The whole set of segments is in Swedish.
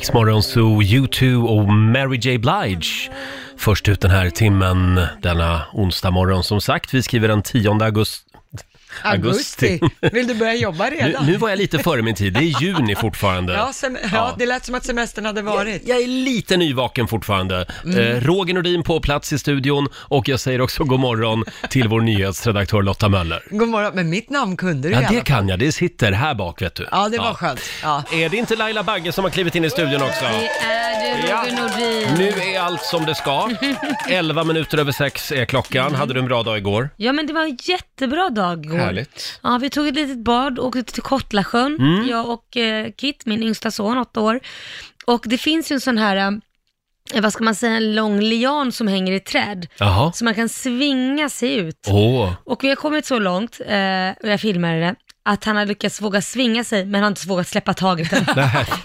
Riksmorgon Zoo, U2 och Mary J Blige. Först ut den här timmen denna onsdag morgon som sagt. Vi skriver den 10 augusti. Augusti. Vill du börja jobba Nu, redan? nu var jag lite före min tid, det är juni fortfarande. ja, sem- ja. Ja. det lät som att semestern hade varit. Jag är lite nyvaken fortfarande. Eh, Roger Nordin på plats i studion och jag säger också god morgon till vår nyhetsredaktör Lotta Möller. God morgon, men mitt namn kunde du Ja, i alla det fall. kan jag. Det sitter här bak, vet du. Ja, det var skönt. Ja. Är det inte Laila Bagge som har klivit in i studion också? Det är du Roger Nordin. Nu är allt som det ska. 11 minuter över sex är klockan. Hade du en bra dag igår? Ja men det var en jättebra dag igår. Härligt. Ja, vi tog ett litet bad och åkte till Kottlasjön, Mm. jag och eh, Kit, min yngsta son, åtta år. Och det finns ju en sån här, eh, vad ska man säga, en lång lian som hänger i ett träd. Jaha. Så man kan svinga sig ut. Åh, Och vi har kommit så långt, eh, och jag filmade det, att han har lyckats våga svinga sig, men han har inte vågat släppa taget än.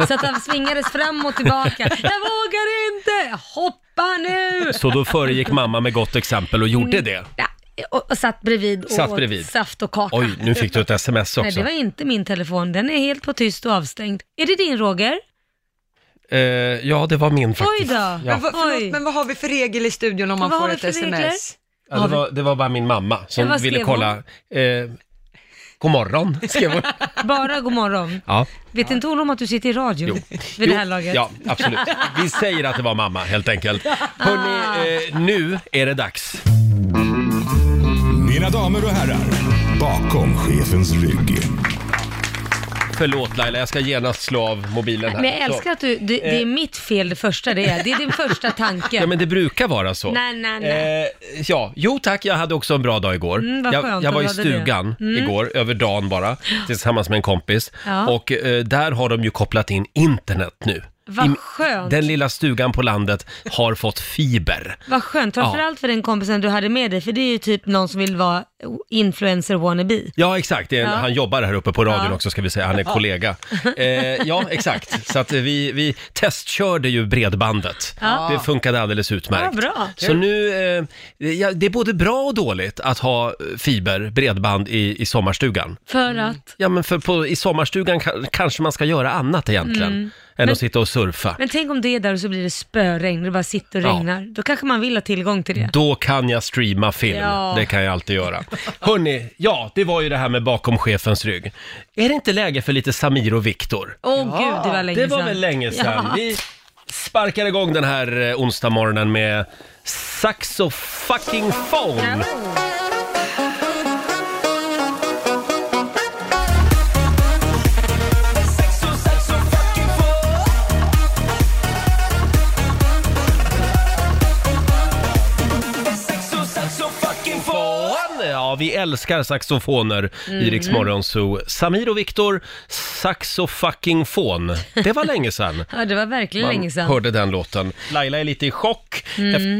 Så att han svingades fram och tillbaka. Jag vågar inte! Hoppa nu! så då föregick mamma med gott exempel och gjorde det. Mm. Ja, och, och satt bredvid och Satt åt bredvid. saft och kaka. Oj, nu fick du ett sms Nej, också. det var inte min telefon. Den är helt på tyst och avstängd. Är det din Roger? Eh, ja, det var min Oj faktiskt. då. Ja. Men, vad, Oj. förlåt, men vad har vi för regel i studion om man Vad har får vi ett för sms? regler? Ja, det, var, det var bara min mamma Ja, som vad ville skrev hon? kolla. Eh, god morgon, skrev hon. Bara god morgon. Ja, Vet inte hon om att du sitter i radio jo. vid det här Jo, laget? Ja, absolut. Vi säger att det var mamma, helt enkelt. Hörrni, eh, nu är det dags. Mina damer och herrar, bakom chefens rygg. Förlåt Laila, jag ska genast slå av mobilen här. Men jag Så. Eh. älskar att du, det, det är mitt fel det första det är. Det är din första tanke. Ja, men det brukar vara så. Nej, nej, nej. Eh, ja, jo tack, jag hade också en bra dag igår. Mm, vad jag, skönt jag att var i du hade det. Mm. stugan igår, över dagen bara, tillsammans med en kompis. Ja. Och eh, där har de ju kopplat in internet nu. Vad I- skönt. Den lilla stugan på landet har fått fiber. Vad skönt, framförallt för den kompisen du hade med dig, för det är ju typ någon som vill vara influencer wannabe. Ja, exakt. Det är en, Ja. Han jobbar här uppe på radion Ja. också, ska vi säga. Han är kollega. Eh, ja, exakt. Så att eh, vi, vi testkörde ju bredbandet. Ja. Det funkade alldeles utmärkt. Ja, bra. Så nu, eh, ja, det är både bra och dåligt att ha eh, fiber, bredband i, i sommarstugan. För att... Ja, men för på, i sommarstugan ka- kanske man ska göra annat egentligen, än att sitta och surfa. Mm. Men tänk om det är där och så blir det spöregn, det bara sitter och Ja. regnar. Då kanske man vill ha tillgång till det. Då kan jag streama film, Ja. det kan jag alltid göra. Hörni, ja, det var ju det här med bakom chefens rygg. Är det inte läge för lite Samir och Viktor? Åh gud, det var länge Det var sedan. väl länge sedan. Ja. Vi sparkar igång den här eh, onsdagmorgonen med Saxo fucking phone. Saxofon! Ja, vi älskar saxofoner i Rix Mm. Morgon Zoo. Samir och Viktor, saxofuckingfon. Det var länge sedan. Ja, det var verkligen länge sedan. Mm. hörde den låten. Laila är lite i chock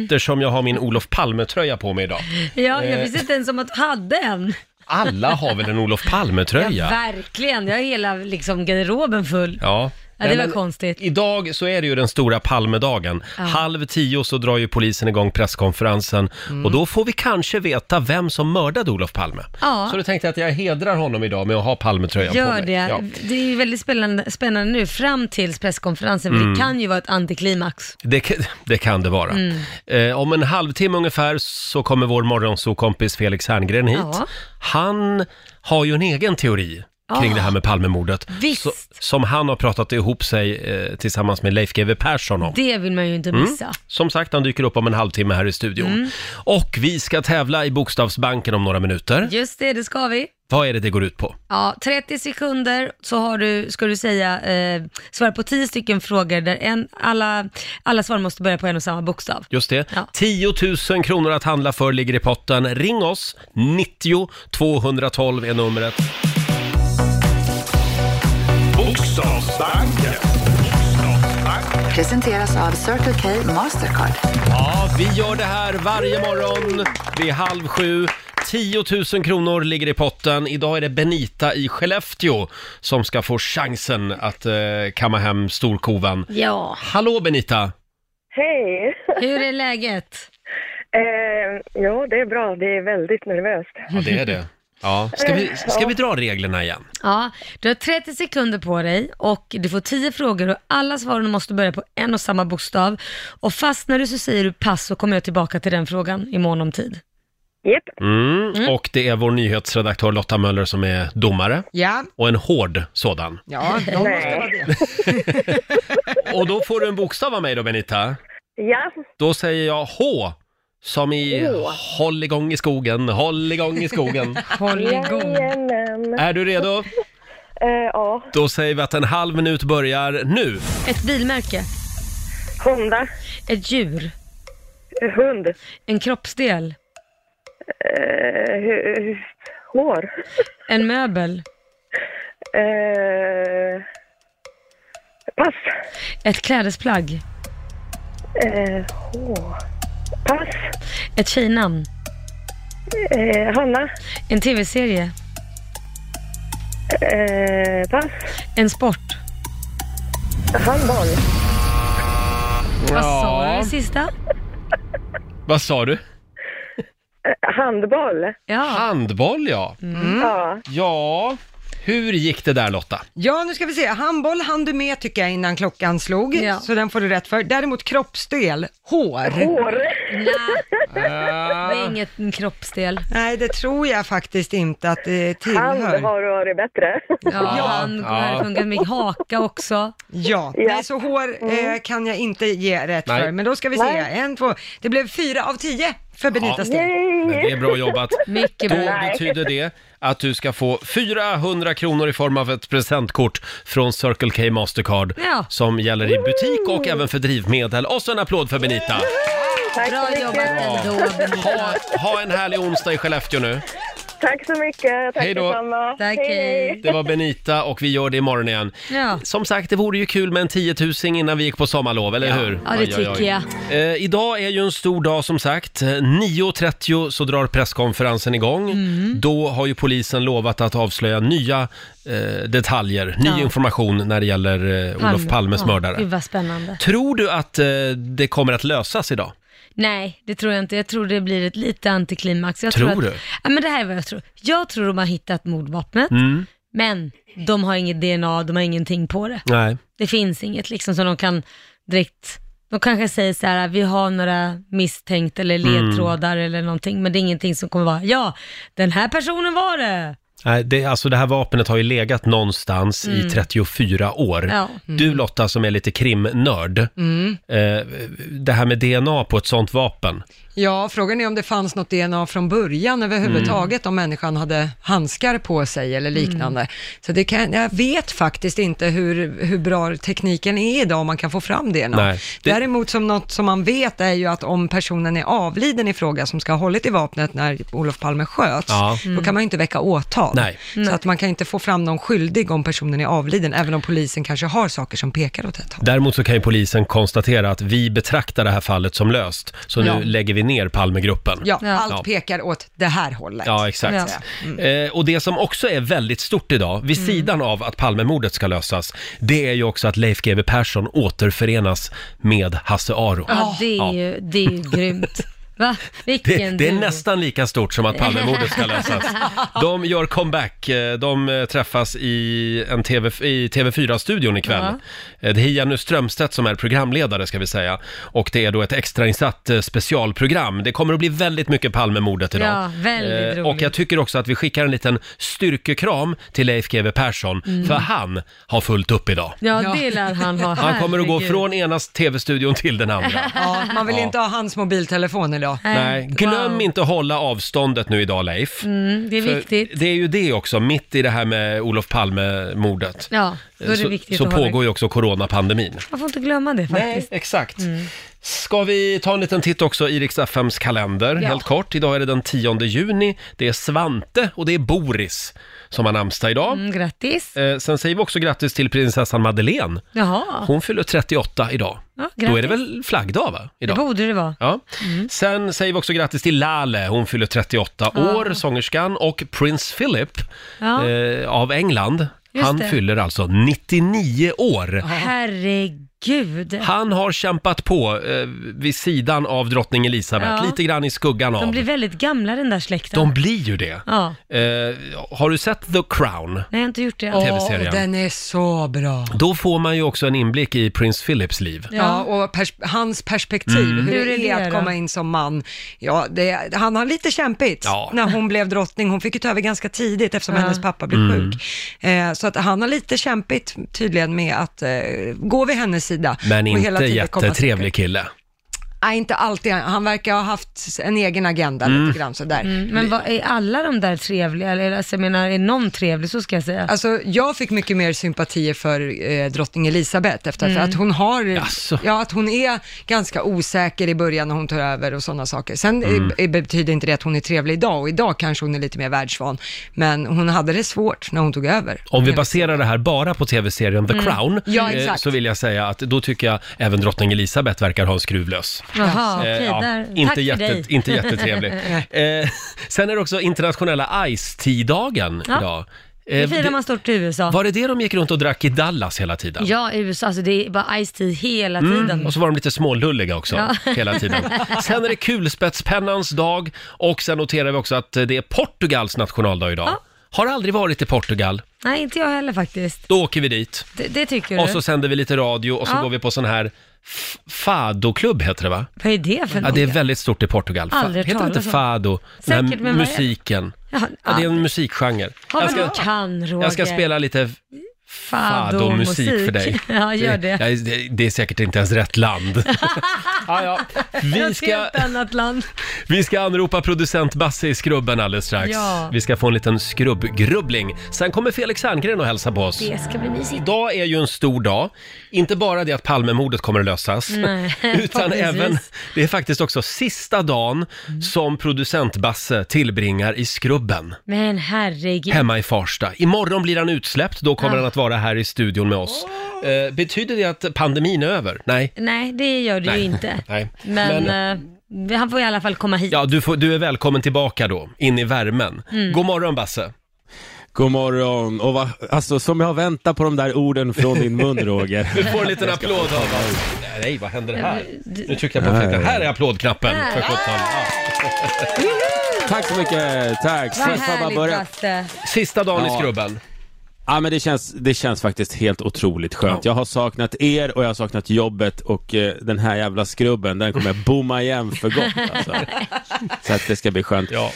eftersom jag har min Olof Palme-tröja på mig idag. Ja, Eh. jag visste inte ens om att du hade en. Alla har väl en Olof Ja, Palme-tröja? verkligen. Jag har hela liksom, garderoben full. Ja. Ja, det Nej, var men konstigt. Idag så är det ju den stora Palmedagen. Halv tio så drar ju polisen igång presskonferensen Mm. och då får vi kanske veta vem som mördade Olof Palme. Ja. Så då tänkte jag att jag hedrar honom idag med att ha Palmetröjan på Gör mig. det. Ja. Det är ju väldigt spännande, spännande nu, fram tills presskonferensen. Mm. Det kan ju vara ett antiklimax. Det, kan- det kan det vara. Mm. Eh, om en halvtimme ungefär så kommer vår morgonsokompis Felix Herngren hit. Ja. Han har ju en egen teori kring Ah. det här med Palmemordet. Visst. som han har pratat ihop sig eh, tillsammans med Leif GW Persson om. Det vill man ju Mm. inte missa. Som sagt, han dyker upp om en halvtimme här i studion. Och vi ska tävla i Bokstavsbanken om några minuter. Just det, det ska vi. Vad är det det går ut på? Ja, 30 sekunder så har du, ska du säga, eh, svara på 10 stycken frågor där en, alla, alla svar måste börja på en och samma bokstav. Just det. Ja. 10 000 kronor att handla för ligger i potten. Ring oss! 90 212 är numret. Presenteras av Circle K Mastercard. Ja, vi gör det här varje morgon vid halv sju. 10 000 kronor ligger i potten. Idag är det Benita i Skellefteå som ska få chansen att eh, kamma hem storkovan. Ja. Hallå Benita! Hej! Hur är läget? Eh, jo, det är bra. Det är väldigt nervöst. Ja, det är det. Ja. Ska, vi, ska vi dra reglerna igen? Ja, du har 30 sekunder på dig och du får 10 frågor och alla svaren måste börja på en och samma bokstav. Och fastnar du så säger du pass så kommer jag tillbaka till den frågan i mån om tid. Japp. Mm. Och det är vår nyhetsredaktör Lotta Möller som är domare. Ja, Och en hård sådan. ja, de måste Nej. vara det. Och då får du en bokstav av mig då Benita. Ja. Då säger jag H. Som i H. håll igång i skogen, håll igång i skogen. Håll igång. Jajamän. är du redo? Eh, Ja. Då säger vi att en halv minut börjar nu. Ett bilmärke, Honda. ett djur, Eh, Hund. en kroppsdel, Eh, hu- hu- Hår. en möbel, Eh, Pass. ett klädesplagg, Eh, H. Pass. ett tjejnamn, Eh, Hanna. en tv-serie, Eh, Pass. en sport. Handboll. Vad sa du sista? Vad sa du? Eh, Handboll. Ja, Handboll ja. Ja. Ja, hur gick det där Lotta? Ja, nu ska vi se. Handboll hann du med tycker jag innan klockan slog, Ja. så den får du rätt för. Däremot kroppsdel, hår. Hår. det är inget kroppsdel. Nej, det tror jag faktiskt inte att det Hand tillhör. har varit bättre. Ja, Ja. han Ja. ja. funkat med haka också. Ja, Ja. nej så hår eh, kan jag inte ge rätt Nej. för. Men då ska vi se, Nej. en, två. Det blev fyra av tio för Benitas del. Men det Yay. är bra jobbat. Mycket Då bra. betyder det att du ska få 400 kronor i form av ett presentkort från Circle K Mastercard Ja. som gäller i butik och även för drivmedel. Och så en applåd för Benita! Tack så Bra jobbat mycket. ändå, Ha, Benita. ha en härlig onsdag i Skellefteå nu. Tack så mycket. Tack Hej då. detsamma. Tack, hej. Det var Benita och vi gör det imorgon igen. Ja. Som sagt, det vore ju kul med en 10 000 innan vi gick på sommarlov, eller hur? Ja, det tycker jag. Eh, idag är ju en stor dag som sagt. Eh, 9.30 så drar presskonferensen igång. Mm. Då har ju polisen lovat att avslöja nya eh, detaljer, ny Ja. information när det gäller eh, Olof Palmes Ja, mördare. Gud vad spännande. Tror du att eh, det kommer att lösas idag? Nej, det tror jag inte. Jag tror det blir ett lite antiklimax. Jag Tror att, du? Ja, men det här är vad jag tror. Jag tror de har hittat mordvapnet, Mm. men de har inget DNA, de har ingenting på det. Nej. Det finns inget liksom som de kan direkt, de kanske säger så här, vi har några misstänkt eller Mm. ledtrådar eller någonting, men det är ingenting som kommer vara, ja, den här personen var det. Nej, det, alltså det här vapnet har ju legat någonstans i 34 år. Mm. Ja. Du Lotta som är lite krimnörd, eh, det här med DNA på ett sånt vapen. Ja, frågan är om det fanns något DNA från början överhuvudtaget, Mm. om människan hade handskar på sig eller liknande. Så det kan, jag vet faktiskt inte hur, hur bra tekniken är idag, om man kan få fram DNA. Nej, det- Däremot som något som man vet är ju att om personen är avliden i fråga, som ska ha hållit i vapnet när Olof Palme sköts, Ja. då kan man ju inte väcka åtal. Nej. Så att man kan inte få fram någon skyldig om personen är avliden, även om polisen kanske har saker som pekar åt ett håll. Däremot så kan ju polisen konstatera att vi betraktar det här fallet som löst, så nu Ja. lägger vi ner Palmegruppen. Ja, Ja. allt pekar åt det här hållet. Ja, exakt. Eh, och det som också är väldigt stort idag, vid sidan av att Palmemordet ska lösas, det är ju också att Leif GW Persson återförenas med Hasse Aro. Ja, det är Ah. Ja. ju, det är ju grymt. Va? Det, Vilken det är duo. nästan lika stort som att Palmemordet ska lösas. De gör comeback. Eh, De eh, träffas i, en TV, i TV4-studion ikväll. Eh, Det är Jenny Strömstedt som är programledare ska vi säga. Och det är då ett extrainsatt eh, specialprogram. Det kommer att bli väldigt mycket Palmemordet idag. Ja, väldigt Eh, roligt. Och jag tycker också att vi skickar en liten styrkekram till Leif GW Persson. Mm. För han har fullt upp idag. Ja, Ja. det lär han ha. Han kommer att gå Herregud. från ena TV-studion till den andra. Ja, man vill Ja. inte ha hans mobiltelefon idag. Nej, glöm wow. inte att hålla avståndet nu idag Leif. Mm, det är För viktigt. Det är ju det också, mitt i det här med Olof Palme-mordet. Eh, Ja, då är det så viktigt så att pågår hålla. ju också coronapandemin. Man får inte glömma det faktiskt. Mm. exakt. Ska vi ta en liten titt också i riks FMs kalender, Ja. helt kort. Idag är det den 10 juni, det är Svante och det är Boris som har namnsdag idag. Mm, grattis. Eh, sen säger vi också grattis till prinsessan Madeleine. Jaha, Hon fyller 38 idag. Ja, Då är det grattis. väl flaggdag va? det Mm. Idag. borde det vara. Ja. Sen säger vi också grattis till Lale, hon fyller 38 år, sångerskan, och Prince Philip Ja. eh, av England. Just han det. fyller alltså 99 år. Herregud. Gud. Han har kämpat på eh, vid sidan av drottning Elisabeth, Ja. lite grann i skuggan av. De blir väldigt gamla den där släkten. De blir ju det. Ja. Eh, har du sett The Crown? Nej, jag har inte gjort det. Åh. än. TV-serien. den är så bra. Då får man ju också en inblick i prins Philips liv. Ja, Ja. och pers- hans perspektiv, Mm. hur, Hur är det är det att då? komma in som man. Ja, det, han har lite kämpigt Ja. när hon blev drottning. Hon fick ju ta över ganska tidigt eftersom Ja. hennes pappa blev Mm. sjuk. Eh, så att han har lite kämpigt tydligen med att eh, gå vid hennes sida. Men och hela inte tiden komma- jättetrevlig kille. Nej, inte alltid. Han verkar ha haft en egen agenda lite grann sådär. Mm, Men vad, är alla de där trevliga? Eller alltså, jag menar, är någon trevlig så ska jag säga. Alltså, jag fick mycket mer sympatier för eh, drottning Elisabeth efter för att hon har, Mm. Jaså? ja att hon är ganska osäker i början när hon tar över och sådana saker. Sen eh, Mm. eh, betyder inte det att hon är trevlig idag och idag kanske hon är lite mer världsvan, men hon hade det svårt när hon tog över. Om vi baserar det här bara på tv-serien The Mm. Crown Ja, eh, exakt. så vill jag säga att då tycker jag även drottning Elisabeth verkar ha en skruv lös. Jaha, Eh, okej. ja, där. inte, Tack jätte, för dig. inte jättetrevlig. eh, sen är det också internationella Ice-Tea-dagen Ja. idag. Det Eh, firar man stort i USA. var det det de gick runt och drack i Dallas hela tiden? Ja, i USA. Alltså, det är bara Ice-T hela tiden. Mm, Och så var de lite smålulliga också Ja. hela tiden. Sen är det kulspetspennans dag och sen noterar vi också att eh, det är Portugals nationaldag idag. Ja. Har aldrig varit i Portugal. Nej, inte jag heller faktiskt. Då åker vi dit. Det, det tycker Och du? så sänder vi lite radio och så Ja. går vi på sån här f- fadoklubb heter det va? Vad är det för Ja, något? det är väldigt stort i Portugal. Fa- Aldrig heter det inte talas om. fado? Den Säkert, här men vad är- musiken. Ja, Ja, det är en musikgenre. Ja, Jag men ska, du kan Roger. jag ska spela lite fadomusik för dig. Ja, gör det. Ja, det. Det är säkert inte ens rätt land. ja, ja. Vi, Ett ska, helt annat land. vi ska anropa producent Basse i skrubben alldeles strax. Ja. Vi ska få en liten skrubbgrubbling. Sen kommer Felix Herngren och hälsa på oss. Det ska bli mysigt. Idag är ju en stor dag. Inte bara det att Palmemordet kommer att lösas, Nej, utan förhoppningsvis. även, det är faktiskt också sista dagen som producent Basse tillbringar i Skrubben, Men herregud. hemma i Farsta. Imorgon blir han utsläppt, då kommer Ja. han att vara här i studion med oss. Eh, betyder det att pandemin är över? Nej. Nej, det gör du Nej. ju inte. Nej. Men, eh, han får i alla fall komma hit. Ja, du, får, du är välkommen tillbaka då, in i värmen. God morgon Basse! God morgon, och va, alltså som jag har väntat på de där orden från din mun Roger. Du får en liten applåd av oss. Nej, vad händer här? Nu tryckte jag på Nej. knäppen. Här är applådknappen för sjutton. Ja. Tack så mycket, tack. Får Vad jag snabba härligt alltså. börja? Basse. Sista dagen i Ja. Skrubben. Ja men det känns, det känns faktiskt helt otroligt skönt. Jag har saknat er och jag har saknat jobbet och eh, den här jävla skrubben den kommer jag bomma igen för gott alltså. Så att det ska bli skönt. Ja.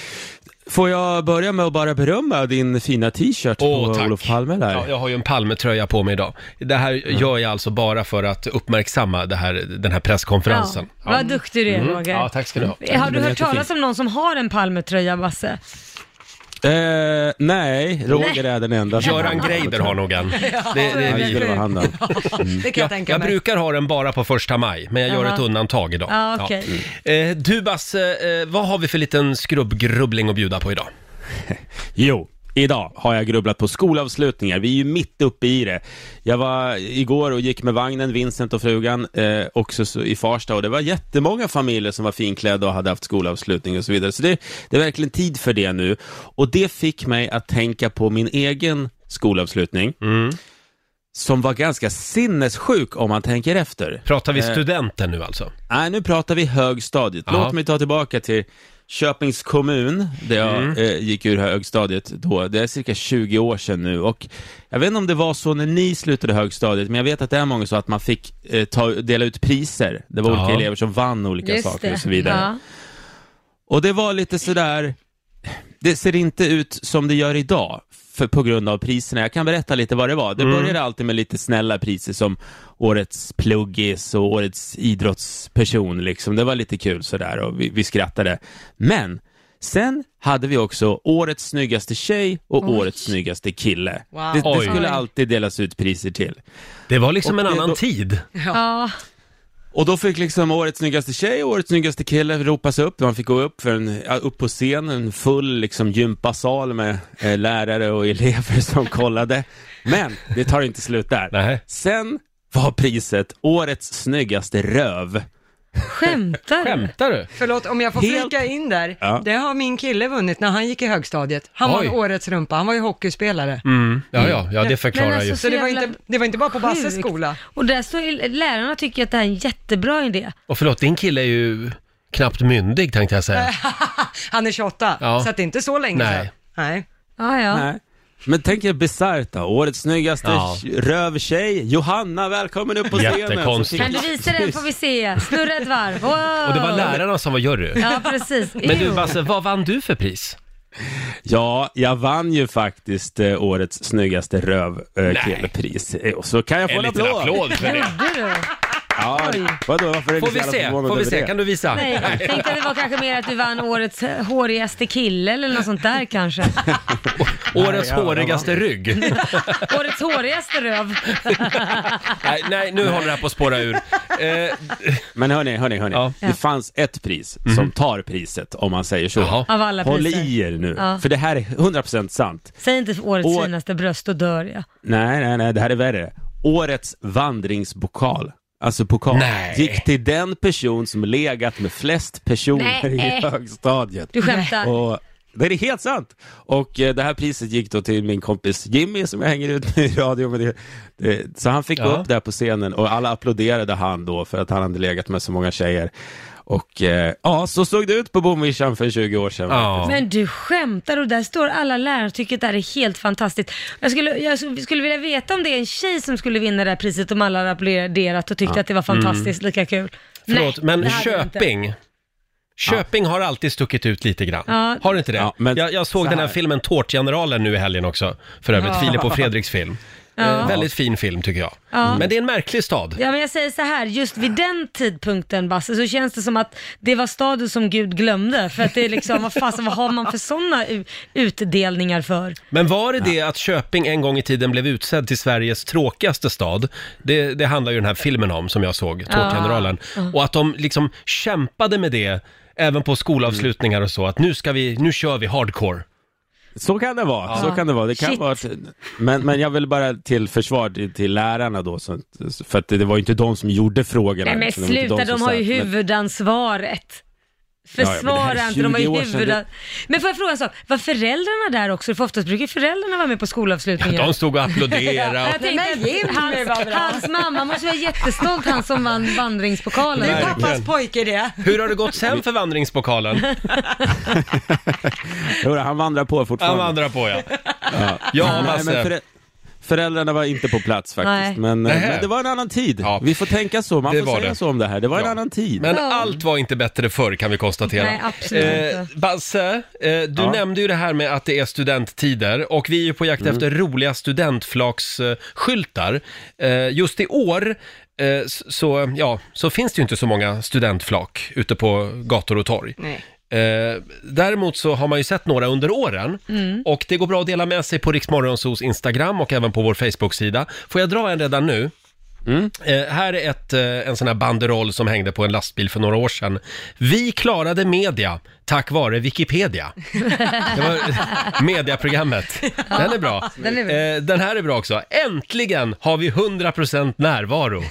Får jag börja med att bara berömma din fina t-shirt Åh, på tack. Olof Palme där? Ja, jag har ju en Palmetröja på mig idag. Det här gör jag alltså bara för att uppmärksamma det här, den här presskonferensen. Ja, Vad duktig du är Roger. Mm. Eh, Ja, tack ska du ha. Har du men hört jättefin. talas om någon som har en Palmetröja Basse? Eh, nej, Roger är den enda som Göran har- Greider har nog en. Det, det är Det skulle vi. vara han då. Det kan jag, Jag, tänka jag mig. brukar ha den bara på första maj, men jag gör Jaha. ett undantag idag. Ja, okej. Ja. Eh, Du Basse, eh, vad har vi för liten skrubbgrubbling att bjuda på idag? Jo, idag har jag grubblat på skolavslutningar. Vi är ju mitt uppe i det. Jag var igår och gick med vagnen, Vincent och frugan, eh, också så, i Farsta och det var jättemånga familjer som var finklädda och hade haft skolavslutning och så vidare. Så det, det är verkligen tid för det nu. Och det fick mig att tänka på min egen skolavslutning. Som var ganska sinnessjuk om man tänker efter. Pratar vi studenten nu alltså? Nej, nu pratar vi högstadiet. Jaha. Låt mig ta tillbaka till Köpings kommun, där jag eh, gick ur högstadiet då. Det är cirka 20 år sedan nu och jag vet inte om det var så när ni slutade högstadiet, men jag vet att det är många så att man fick eh, ta, dela ut priser. Det var Ja. olika elever som vann olika saker och så vidare. Ja. Och det var lite sådär, det ser inte ut som det gör idag för, på grund av priserna. Jag kan berätta lite vad det var. Det började alltid med lite snälla priser som årets pluggis och årets idrottsperson liksom. Det var lite kul sådär och vi, vi skrattade. Men sen hade vi också årets snyggaste tjej och årets snyggaste kille. Wow. Det, det Oj. skulle alltid delas ut priser till. Det var liksom Och en det- annan då- tid. Ja. Och då fick liksom årets snyggaste tjej och årets snyggaste kille ropas upp. Man fick gå upp, för en, ja, upp på scen, en full liksom, gympasal med eh, lärare och elever som kollade. Men det tar inte slut där. Nej. Sen var priset årets snyggaste röv. Skämtar du? Skämtar du? Förlåt, om jag får Helt- flika in där. Ja. Det har min kille vunnit när han gick i högstadiet. Han Oj. var årets rumpa, han var ju hockeyspelare. Mm. Ja, ja, ja, det Men förklarar alltså, ju. Så det var, jävla inte, det var inte bara på Basses sjukt. skola. Och där står ju- lärarna tycker att det här är en jättebra idé. Och förlåt, din kille är ju knappt myndig tänkte jag säga. Han är 28, Ja. så att det är inte så länge Nej. sedan. Nej. Ja, ja. Nej. Men tänk er bisarrt då, årets snyggaste Ja. rövtjej, Johanna, välkommen upp på scenen! Jättekonstigt. Kan du visa den får vi se. Snurra ett varv. Wow. Och det var lärarna som var jury. Ja, precis. Men du Ew. Basse, vad vann du för pris? Ja, jag vann ju faktiskt eh, årets snyggaste eh, rövkillepris. Eh, så kan jag få en, applåd? för det. Gjorde du? Ja, vadå, varför är Får ni så vi jävla se, förvånade får vi över se, det? kan du visa? Nej, jag tänkte att det var kanske mer att du vann årets hårigaste kille eller något sånt där kanske. Årets hårigaste rygg. Årets hårigaste röv. Nej, nej, nu håller det här på att spåra ur. Eh, Men hörni, hörni, hörni. Ja. Mhm. Det fanns ett pris som tar priset, om man säger så. Jaha. Av alla Håll priser. i er nu, Ja. för det här är 100% sant. Säg inte årets År- finaste bröst, då dör jag. Nej, nej, nej, det här är värre. Årets vandringspokal. Alltså pokal. Nej. Gick till den person som legat med flest personer Nej. i högstadiet. Du skämtar. Och det är helt sant! Och eh, det här priset gick då till min kompis Jimmy som jag hänger ut med i radio. Men det, det, så han fick gå Ja. upp där på scenen och alla applåderade han då för att han hade legat med så många tjejer. Och eh, ja, så såg det ut på Bomvischan för 20 år sedan. Ja. Men du skämtar och där står alla lärare och tycker att det här är helt fantastiskt. Jag skulle, jag skulle vilja veta om det är en tjej som skulle vinna det här priset om alla hade applåderat och tyckte att det var fantastiskt, lika kul. Mm. Förlåt, Nej, det men hade jag inte. Köping. Köping har alltid stuckit ut lite grann. Ja. Har inte det? Ja, men jag, jag såg så den här här. filmen Tårtgeneralen nu i helgen också, för övrigt. Filip och Fredriks film. Eh, väldigt fin film tycker jag. Men det är en märklig stad. Ja, men jag säger så här, just vid den tidpunkten Basse, så känns det som att det var staden som Gud glömde. För att det är liksom, vad fasen, vad har man för sådana utdelningar för? Men var det det att Köping en gång i tiden blev utsedd till Sveriges tråkigaste stad? Det, det handlar ju den här filmen om som jag såg, Tårtgeneralen. Och att de liksom kämpade med det även på skolavslutningar och så, att nu ska vi, nu kör vi hardcore. Så kan det vara. Så kan det vara. Det kan Shit. vara ett, men, men jag vill bara till försvar till, till lärarna då, så, för att det, det var ju inte de som gjorde frågorna. Nej men så det var inte sluta, de, som har ju satt, men- huvudansvaret. ja, men det här är Försvara inte, de har 20 ju år sedan huvudan... Men får jag fråga en sak, var föräldrarna där också? För oftast brukar föräldrarna vara med på skolavslutningar. De stod och applåderade. Och... Jag tänkte Nej, men Jimmy att hans, var bra. hans mamma måste vara jättestolt, han som vann vandringspokalen. Det är Verkligen. pappas pojke det. Hur har det gått sen för vandringspokalen? Jo, han vandrar på fortfarande. Han vandrar på ja. Ja, Nej, men Basse. förä- Föräldrarna var inte på plats Nej. faktiskt, men, eh, Nähä. men det var en annan tid. Ja. Vi får tänka så, man Det får var säga det. så om det här. Det var en annan tid. Men Ja. allt var inte bättre förr kan vi konstatera. Nej, absolut eh, inte. Basse, eh, du Ja. nämnde ju det här med att det är studenttider och vi är ju på jakt efter roliga studentflaksskyltar. Eh, just i år eh, s- så, ja, så finns det ju inte så många studentflak ute på gator och torg. Nej. Eh, däremot så har man ju sett några under åren Mm. och det går bra att dela med sig på Riksmorgonsos Instagram och även på vår Facebook-sida. Får jag dra en redan nu? Eh, här är ett, eh, en sån här banderoll som hängde på en lastbil för några år sedan. Vi klarade media tack vare Wikipedia. Det var mediaprogrammet. Den är bra. den är Eh, den här är bra också. Äntligen har vi 100% närvaro.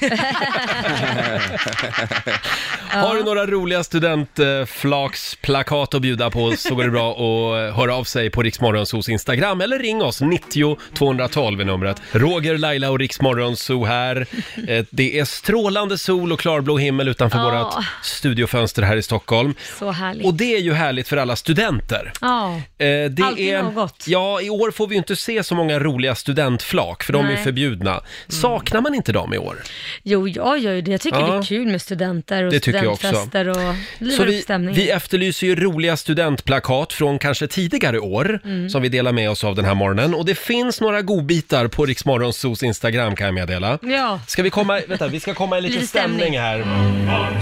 Har du några roliga studentflaksplakat att bjuda på så går det bra att eh, höra av sig på Riksmorgonsos Instagram eller ring oss, 90 212 är numret. Roger, Laila och Riksmorgonso här. Eh, Det är strålande sol och klarblå himmel utanför Ja. vårat studiofönster här i Stockholm. Så härligt. Och det är ju härligt för alla studenter. Ja. Eh, det Alltid är, något. Ja, i år får vi ju inte se så många roliga studentflak, för de är Nej. Mm. förbjudna. Saknar man inte dem i år? Jo, jag gör ju det. Jag tycker Ja. det är kul med studenter och Det tycker jag också. studentfester och Så livar upp vi, stämningen. vi efterlyser ju roliga studentplakat från kanske tidigare år Mm. som vi delar med oss av den här morgonen. Och det finns några godbitar på Riksmorgonsos Instagram kan jag meddela. Ja. Ska vi komma, vänta, vi ska komma i lite Lite stämning. stämning. här.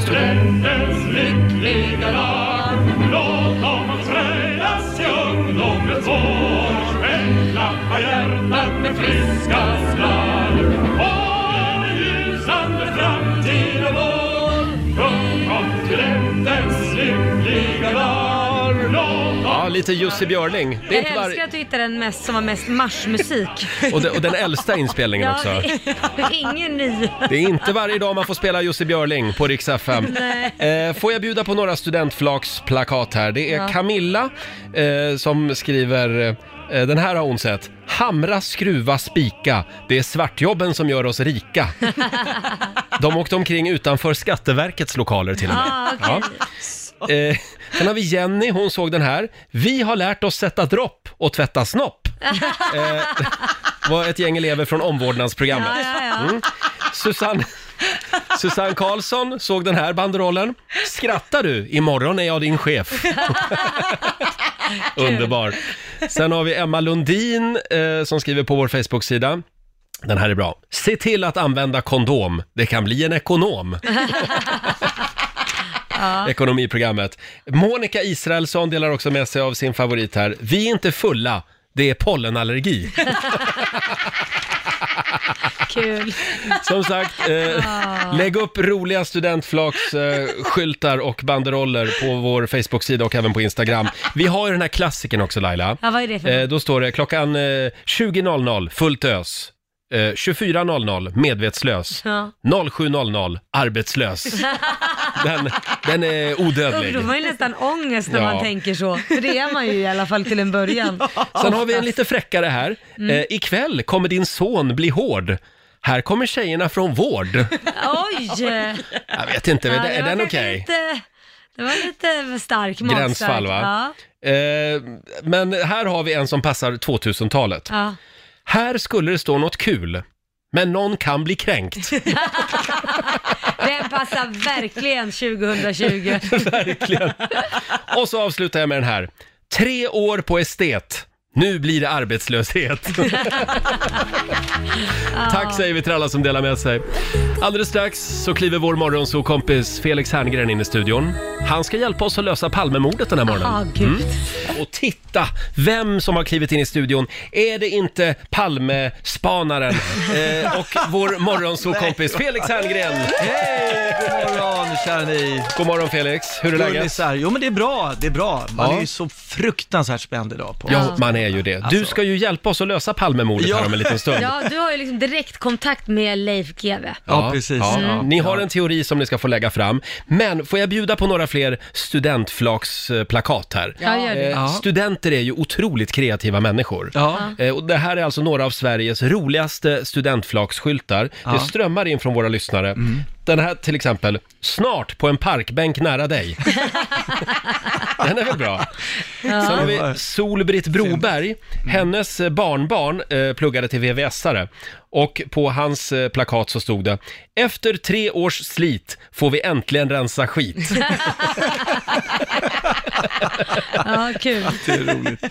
Studentens lyckliga lag Låt dem fröjdas i ungdomens år Men klappa hjärtat med friska slag Och en ljusande framtid är vår Sjung om studentens lyckliga lag Låt dem Ja, lite Jussi Björling. Det är Jag inte älskar var... att du hittade den mest som var mest marschmusik. och, de, och den äldsta inspelningen Ja, också. det, är- det är ingen ny. Det är inte varje dag man får spela Jussi Björling på Rix FM. Eh, får jag bjuda på några studentflaksplakat här? Det är Ja. Camilla eh, som skriver, eh, den här har hon sett. Hamra, skruva, spika. Det är svartjobben som gör oss rika. De åkte omkring utanför Skatteverkets lokaler till och med. Ah, okej. Ja. Eh, sen har vi Jenny, hon såg den här. Vi har lärt oss sätta dropp och tvätta snopp. Eh, var ett gäng elever från omvårdnadsprogrammet. Mm. Ja, ja, ja. Susanne, Susanne Karlsson såg den här banderollen. Skrattar du? Imorgon är jag din chef. Underbar. Sen har vi Emma Lundin eh, som skriver på vår Facebook-sida. Den här är bra. Se till att använda kondom. Det kan bli en ekonom. Ekonomiprogrammet. Monica Israelsson delar också med sig av sin favorit här. Vi är inte fulla, det är pollenallergi. Kul. Som sagt, eh, lägg upp roliga studentflaksskyltar eh, skyltar och banderoller på vår Facebook-sida och även på Instagram. Vi har ju den här klassiken också Laila. Ja, vad är det för Eh, då står det klockan eh, 20.00, fullt ös. Eh, 24.00, medvetslös. Ja. 07.00, arbetslös. Den, den är odödlig. Ungdomar har ju nästan ångest när Ja. man tänker så. För det är man ju i alla fall till en början. Sen har vi en lite fräckare här. Eh, ikväll kommer din son bli hård. Här kommer tjejerna från vård. Oj! Jag vet inte, Ja, är, det är var den kanske okej? lite- Det var lite stark magstark. Gränsfall va? Ja. Eh, men här har vi en som passar 2000-talet. ja. Här skulle det stå något kul, men någon kan bli kränkt. Den passar verkligen 2020. Verkligen. Och så avslutar jag med den här. Tre år på estet. Nu blir det arbetslöshet. Tack säger vi till alla som delar med sig. Alldeles strax så kliver vår morgonsokompis Felix Herngren in i studion. Han ska hjälpa oss att lösa Palmemordet den här morgonen. Ja, gud. Mm. Och titta vem som har klivit in i studion. Är det inte Palmespanaren eh, och vår morgonsåkompis Felix Herngren? Hej! God morgon kära ni! God morgon Felix, hur är läget? Gullisar. Jo men det är bra, det är bra. Man Ja. är ju så fruktansvärt spänd idag på Alltså. Ja, man är ju det. Du ska ju hjälpa oss att lösa Palmemordet Ja. här om en liten stund. Ja, du har ju liksom direktkontakt med Leif GW. Ja, precis. Ja. Ni har en teori som ni ska få lägga fram. Men får jag bjuda på några fler studentflaksplakat här? Ja, gör det. Eh, Studenter är ju otroligt kreativa människor. Ja. Eh, Och det här är alltså några av Sveriges roligaste studentflaksskyltar. Det strömmar in från våra lyssnare. Den här till exempel, snart på en parkbänk nära dig. Den är väl bra? Sen har vi Solbritt Broberg. Hennes eh, barnbarn eh, pluggade till VVS-are. Och på hans eh, plakat så stod det “Efter tre års slit får vi äntligen rensa skit”. Ja, kul.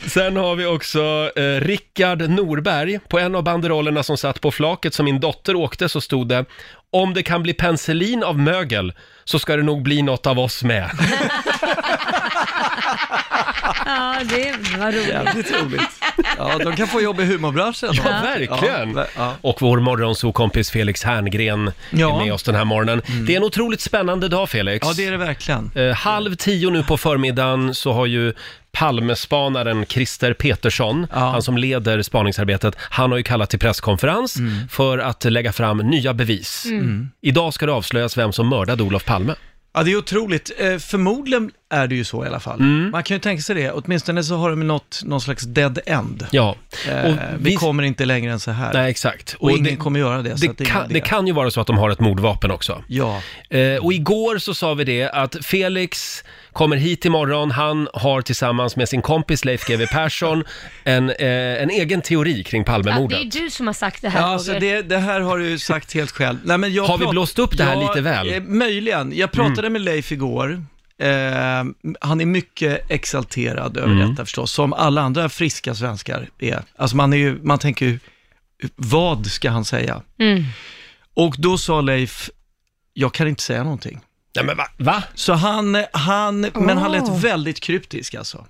Sen har vi också eh, Rickard Norberg. På en av banderollerna som satt på flaket som min dotter åkte så stod det om det kan bli penicillin av mögel så ska det nog bli något av oss med. Ja, det var roligt. Jävligt roligt. Ja, de kan få jobb i humorbranschen. Ja, verkligen! Ja, ver- ja. Och vår morgonsokompis Felix Herngren Ja. Mm. är med oss den här morgonen. Det är en otroligt spännande dag Felix. Ja, det är det verkligen. Eh, halv tio nu på förmiddagen så har ju Palmespanaren Christer Petersson, Ja. han som leder spaningsarbetet, han har ju kallat till presskonferens Mm. för att lägga fram nya bevis. Mm. Idag ska det avslöjas vem som mördade Olof Palme. Ja, det är otroligt. Eh, förmodligen är det ju så i alla fall. Mm. Man kan ju tänka sig det. Åtminstone så har de nått någon slags dead end. Ja, Eh, vi kommer inte längre än så här. Nej, exakt. Och, ingen kommer göra det. så att är det, ingen kan, idé. det kan ju vara så att de har ett mordvapen också. Ja, Eh, och igår så sa vi det att Felix kommer hit imorgon. Han har tillsammans med sin kompis Leif GW Persson en, eh, en egen teori kring Ja, Palmemordet. det är du som har sagt det ja här, alltså Roger. det, det här har du ju sagt helt själv. Nej, men jag Har vi prat- blåst upp det här Ja, lite väl? Mm. eh, möjligen. Jag pratade med Leif igår. Eh, han är mycket exalterad över Mm. detta förstås, som alla andra friska svenskar är. Alltså man, är ju, man tänker ju, vad ska han säga? Mm. Och då sa Leif, jag kan inte säga någonting. Nej men va? va? Så han, han men han lät väldigt kryptisk alltså.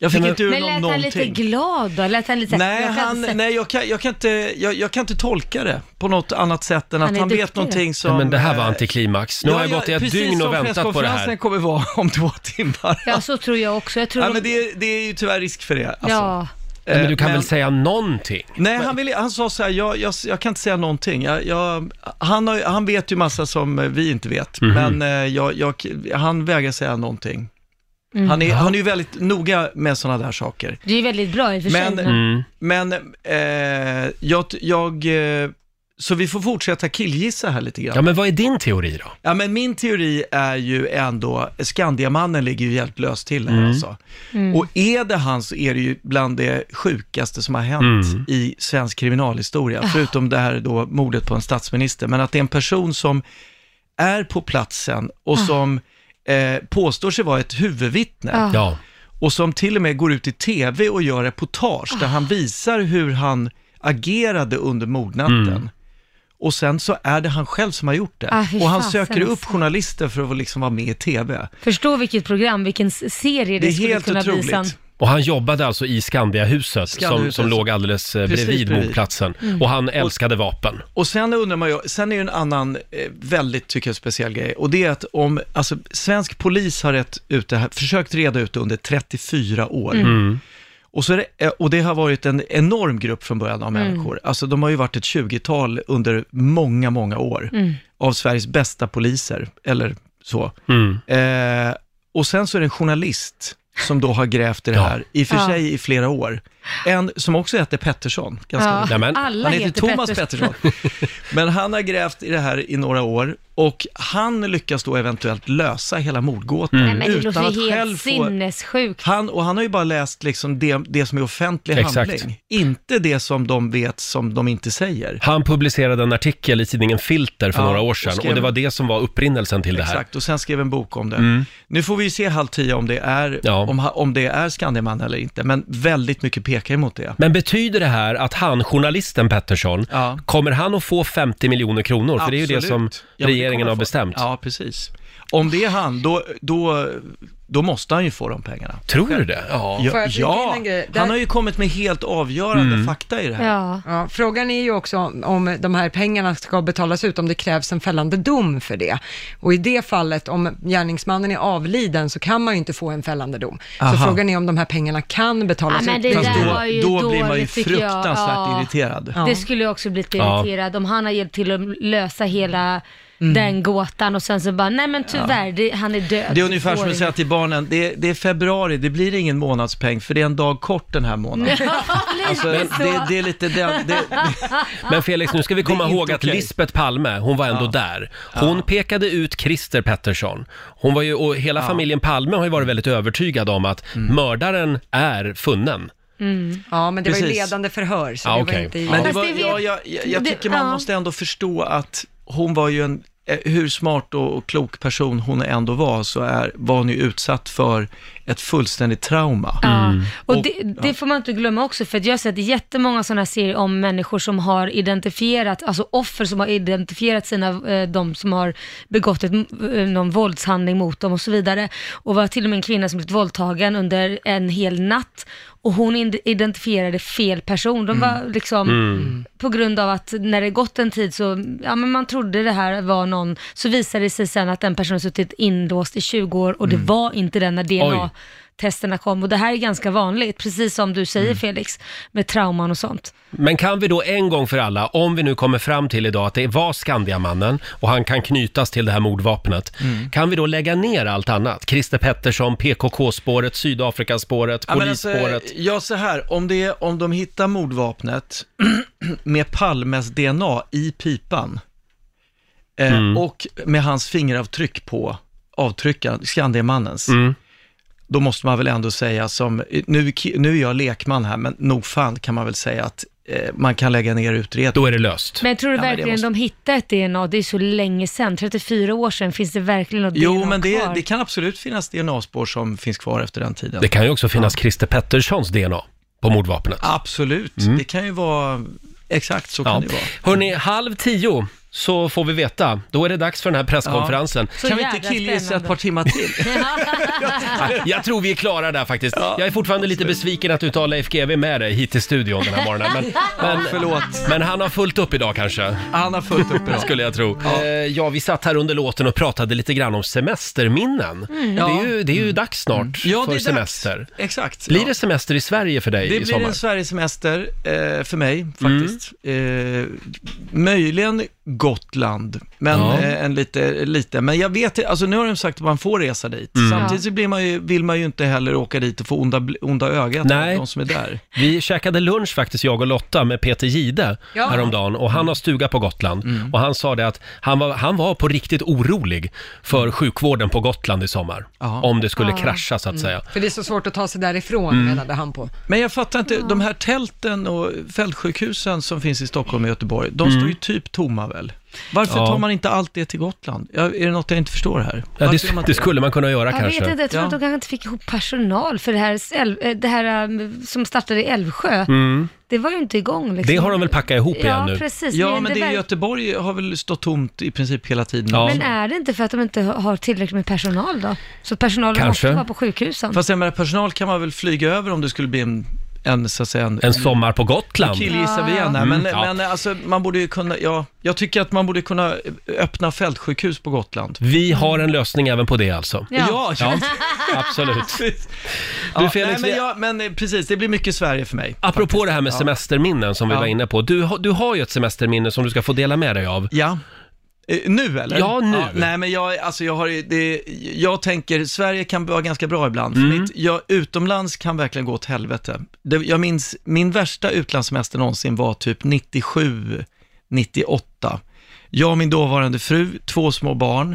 Jag fick Men- inte ur Men någon lät han lite någonting. glad då? Lät han lite så här, Nej, jag kan han, se- nej jag, kan, jag, kan inte, jag, jag kan inte tolka det på något annat sätt än Han att är han vet duktig. någonting som... Ja, men det här var eh, antiklimax. Nu har jag ja, gått i ett precis dygn som och väntat på det här. presskonferensen kommer vara om två timmar. Ja, så tror jag också. Jag tror Ja, de- men det, är- det är ju tyvärr risk för det. Alltså. ja. Nej, men du kan Eh, väl säga någonting? Nej, han, ville, han sa så här, jag, jag, jag kan inte säga någonting. Jag, jag, han, har, han vet ju massa som eh, vi inte vet, men eh, jag, jag, han vägrar säga någonting. Han, är, han är ju väldigt noga med sådana där saker. Det är ju väldigt bra i och för sig. Men- Men, Mm. Men eh, jag, jag eh, så vi får fortsätta killgissa här lite grann. Ja, Ja. men vad är din teori då? men min teori är ju ändå, Skandiamannen ligger ju hjälplös till här alltså. Och är det han så är det ju bland det sjukaste som har hänt i svensk kriminalhistoria, förutom det här då mordet på en statsminister, men att det är en person som är på platsen och som eh, påstår sig vara ett huvudvittne Ja. Ja. och som till och med går ut i tv och gör reportage där Ah. han visar hur han agerade under mordnatten. Och sen så är det han själv som har gjort det. Mm. Ah, fy och han fasen, söker upp alltså. journalister för att liksom vara med i tv. Förstå vilket program, vilken s- serie det, Det är skulle helt kunna bli sen. otroligt. Och han jobbade alltså i Skandiahuset, som, Skandiahuset. som låg alldeles eh, Precis Mm. bredvid bredvid. mordplatsen. Och han älskade vapen. Och sen undrar man ju, sen är ju en annan eh, väldigt, tycker jag, speciell grej. Och det är att om, alltså svensk polis har rätt ut det här, försökt reda ut det under 34 år. Och, så är det, eh, och det har varit en enorm grupp från början Mm. av människor. Alltså de har ju varit ett 20-tal under många, många år. Mm. Av Sveriges bästa poliser, eller så. Eh, och sen så är det en journalist som då har grävt i det Ja. här, i och för Ja. sig i flera år. En som också heter Pettersson, ganska Ja. Nämen. Alla han heter heter Thomas Pettersson. Pettersson. Men han har grävt i det här i några år och han lyckas då eventuellt lösa hela mordgåtan Mm. Nej, men det Mm. utan låter att ju själv helt få... sinnessjukt. Han, och han har ju bara läst liksom det, det som är offentlig Exakt. handling, inte det som de vet som de inte säger. Han publicerade en artikel i tidningen Filter för Ja, några år och sedan och, skrev- det var det som var upprinnelsen till det här. Mm. Exakt, och sen skrev en bok om det. Nu får vi ju se halv tio om det är, Ja. om, ha- om det är Skandiaman eller inte, men väldigt mycket pekar emot det. Men betyder det här att han, journalisten Pettersson, Ja. kommer han att få 50 miljoner kronor? För det är ju det som Absolut. Ja, men det regeringen kommer har få- bestämt. Ja, precis. Om det är han, då, då, då måste han ju få de pengarna. Tror du det? Ja. Ja, Får jag flika in ja. en grej? Där- han har ju kommit med helt avgörande Mm. fakta i det här. Ja. Ja, frågan är ju också om, om de här pengarna ska betalas ut, om det krävs en fällande dom för det. Och i det fallet, om gärningsmannen är avliden, så kan man ju inte få en fällande dom. Aha. Så frågan är om de här pengarna kan Ja, betalas men ut. det Alltså, Fast där då, var ju då blir man ju dåligt, tycker jag. fruktansvärt Ja. irriterad. Ja. Det skulle jag också blivit Ja. irriterad om han har hjälpt till att lösa hela Mm. den gåtan och sen så bara, nej men tyvärr, det, han är död. Det är ungefär som Får att säga till barnen, det är, det är februari, det blir ingen månadspeng för det är en dag kort den här månaden. Alltså, lite så. det, det är lite den, det, Men Felix, nu ska vi komma Det är ihåg inte att okej. Lisbeth Palme, hon var ändå där. Hon pekade ut Christer Pettersson. Hon var ju, och hela familjen Palme har ju varit väldigt övertygad om att Mm. mördaren är funnen. Ja, men det var ju Precis. ledande förhör, så Ja, det okej. var inte... Men det Fast var, det vet- ja, jag, jag, jag det- tycker man ja. måste ändå förstå att hon var ju en, eh, hur smart och, och klok person hon ändå var, så är, var hon ju utsatt för ett fullständigt trauma. Ja, och, Och- det, det får man inte glömma också för att jag har sett jättemånga sådana serier om människor som har identifierat, alltså offer som har identifierat sina, eh, de som har begått ett, eh, någon våldshandling mot dem och så vidare. Och var till och med en kvinna som blivit våldtagen under en hel natt och hon ind- identifierade fel person. De var liksom, på grund av att när det gått en tid så, ja men man trodde det här var någon, så visade det sig sen att den personen suttit inlåst i 20 år och det var inte den när DNA Oj. testerna kom och det här är ganska vanligt, precis som du säger Mm. Felix, med trauman och sånt. Men kan vi då en gång för alla, om vi nu kommer fram till idag att det var Skandiamannen och han kan knytas till det här mordvapnet, Mm. kan vi då lägga ner allt annat? Christer Pettersson, PKK-spåret, Sydafrikaspåret, Ja, men alltså, polisspåret. ja, så här, om, det, är- om de hittar mordvapnet med Palmes DNA i pipan eh, Mm. och med hans fingeravtryck på avtryckaren, Skandiamannens, Mm. då måste man väl ändå säga som, nu, nu är jag lekman här, men nog fan kan man väl säga att eh, man kan lägga ner utredningen. Då är det löst. Men tror du Ja, men det verkligen måste- de hittar ett DNA? Det är så länge sedan, 34 år sedan, finns det verkligen något Jo, DNA men det, kvar? det kan absolut finnas DNA-spår som finns kvar efter den tiden. Det kan ju också finnas Christer Petterssons DNA på mordvapnet. Mm. Absolut, det kan ju vara, exakt så kan det ju vara. Hörni, halv tio så får vi veta. Då är det dags för den här presskonferensen. Så kan vi inte jävla killgissa spännande. ett par timmar till? Ja, Ah, Jag tror vi är klara där faktiskt. Jag är fortfarande lite besviken att du inte har Leif GW med dig hit till studion den här morgonen. Men, men, Förlåt, men han har fullt upp idag kanske, han har fullt upp idag. skulle jag tro. Ja. ja, vi satt här under låten och pratade lite grann om semesterminnen. Mm. Det är ju, det är ju dags snart Ja, det för är semester. dags. Exakt. Blir ja. det semester i Sverige för dig Det i blir sommar? en Sverigesemester eh, för mig faktiskt. Eh, möjligen Gotland, men Ja. eh, en lite, lite. Men jag vet alltså nu har de sagt att man får resa dit. Mm. Samtidigt så blir man ju, vill man ju inte heller åka dit och få onda, bl- onda ögat Nej. av de som är där. Vi käkade lunch faktiskt, jag och Lotta, med Peter Gide Ja. häromdagen och han har stuga på Gotland. Och han sa det att han var, han var på riktigt orolig för sjukvården på Gotland i sommar. Ja. Om det skulle krascha så att säga. För det är så svårt att ta sig därifrån, Mm. menade han på. Men jag fattar inte, de här tälten och fältsjukhusen som finns i Stockholm och Göteborg, de står ju typ tomma väl? Varför Mm. Ja. tar man inte allt det till Gotland? Ja, är det något jag inte förstår här? Ja, Varför det, gör man inte det skulle man kunna göra Jag kanske. vet inte, jag tror Ja. att de kanske inte fick ihop personal för det här, Äl- eh, det här um, som startade i Älvsjö. Mm. Det var ju inte igång liksom. Det har de väl packat ihop igen Ja, nu? precis. Ja, men Alltså, det är verk- Göteborg har väl stått tomt i princip hela tiden. Ja. Men är det inte för att de inte har tillräckligt med personal då? Så personalen Kanske. måste vara på sjukhusen. Fast jag menar, personal kan man väl flyga över om det skulle bli en, en så att säga, en, En sommar på Gotland? killgissar vi igen här. Mm, Men, ja. men alltså, man borde ju kunna, ja, jag tycker att man borde kunna öppna fältsjukhus på Gotland. Vi har en lösning även på det alltså. Ja. Ja, absolut. Ja, Felix, nej, men, vi- jag, men eh, precis, det blir mycket Sverige för mig. Apropå det här med semesterminnen som vi Ja. var inne på. Du, har- du har ju ett semesterminne som du ska få dela med dig av. Ja. Eh, Nu eller? Ja, nu. nej, men jag, alltså, jag, har, ju- det, jag tänker, Sverige kan vara ganska bra ibland. För Mm. mitt, jag, utomlands kan verkligen gå åt helvete. Det, jag minns, min värsta utlandssemester någonsin var typ 97, 98. Jag och min dåvarande fru, två små barn.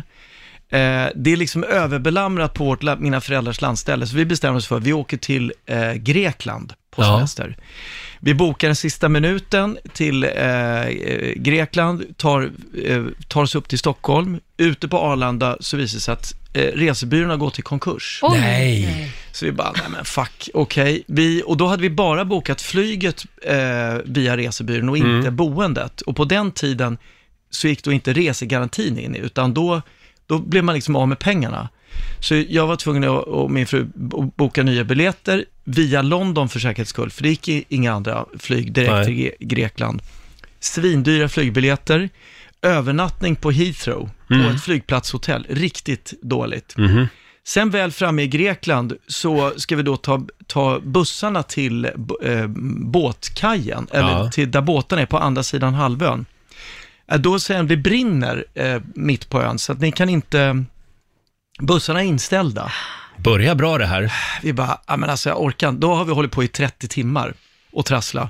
Eh, det är liksom överbelamrat på vårt, la- mina föräldrars landställe, så vi bestämmer oss för att vi åker till eh, Grekland på Ja. semester. Vi bokar den sista minuten till eh, eh, Grekland, tar, eh, tar oss upp till Stockholm. Ute på Arlanda så visar det sig att eh, resebyrån har gått i konkurs. Oj. Nej. Så vi bara, nej men fuck, okej. Vi- Och då hade vi bara bokat flyget eh, via resebyrån och inte boendet. Och på den tiden så gick då inte resegarantin in, utan då, då blev man liksom av med pengarna. Så jag var tvungen att, och min fru bo- boka nya biljetter via London för säkerhets skull, för det gick i- inga andra flyg direkt Nej. till Gre- Grekland. Svindyra flygbiljetter, övernattning på Heathrow, på ett flygplatshotell, riktigt dåligt. Mhm. Sen väl framme i Grekland så ska vi då ta, ta bussarna till b- eh, båtkajen, eller Ja. till där båtarna är på andra sidan halvön. Eh, Då säger de, det brinner eh, mitt på ön, så att ni kan inte, bussarna är inställda. Börjar bra det här. Vi bara, ja men alltså jag orkar inte." Då har vi hållit på i 30 timmar och trassla.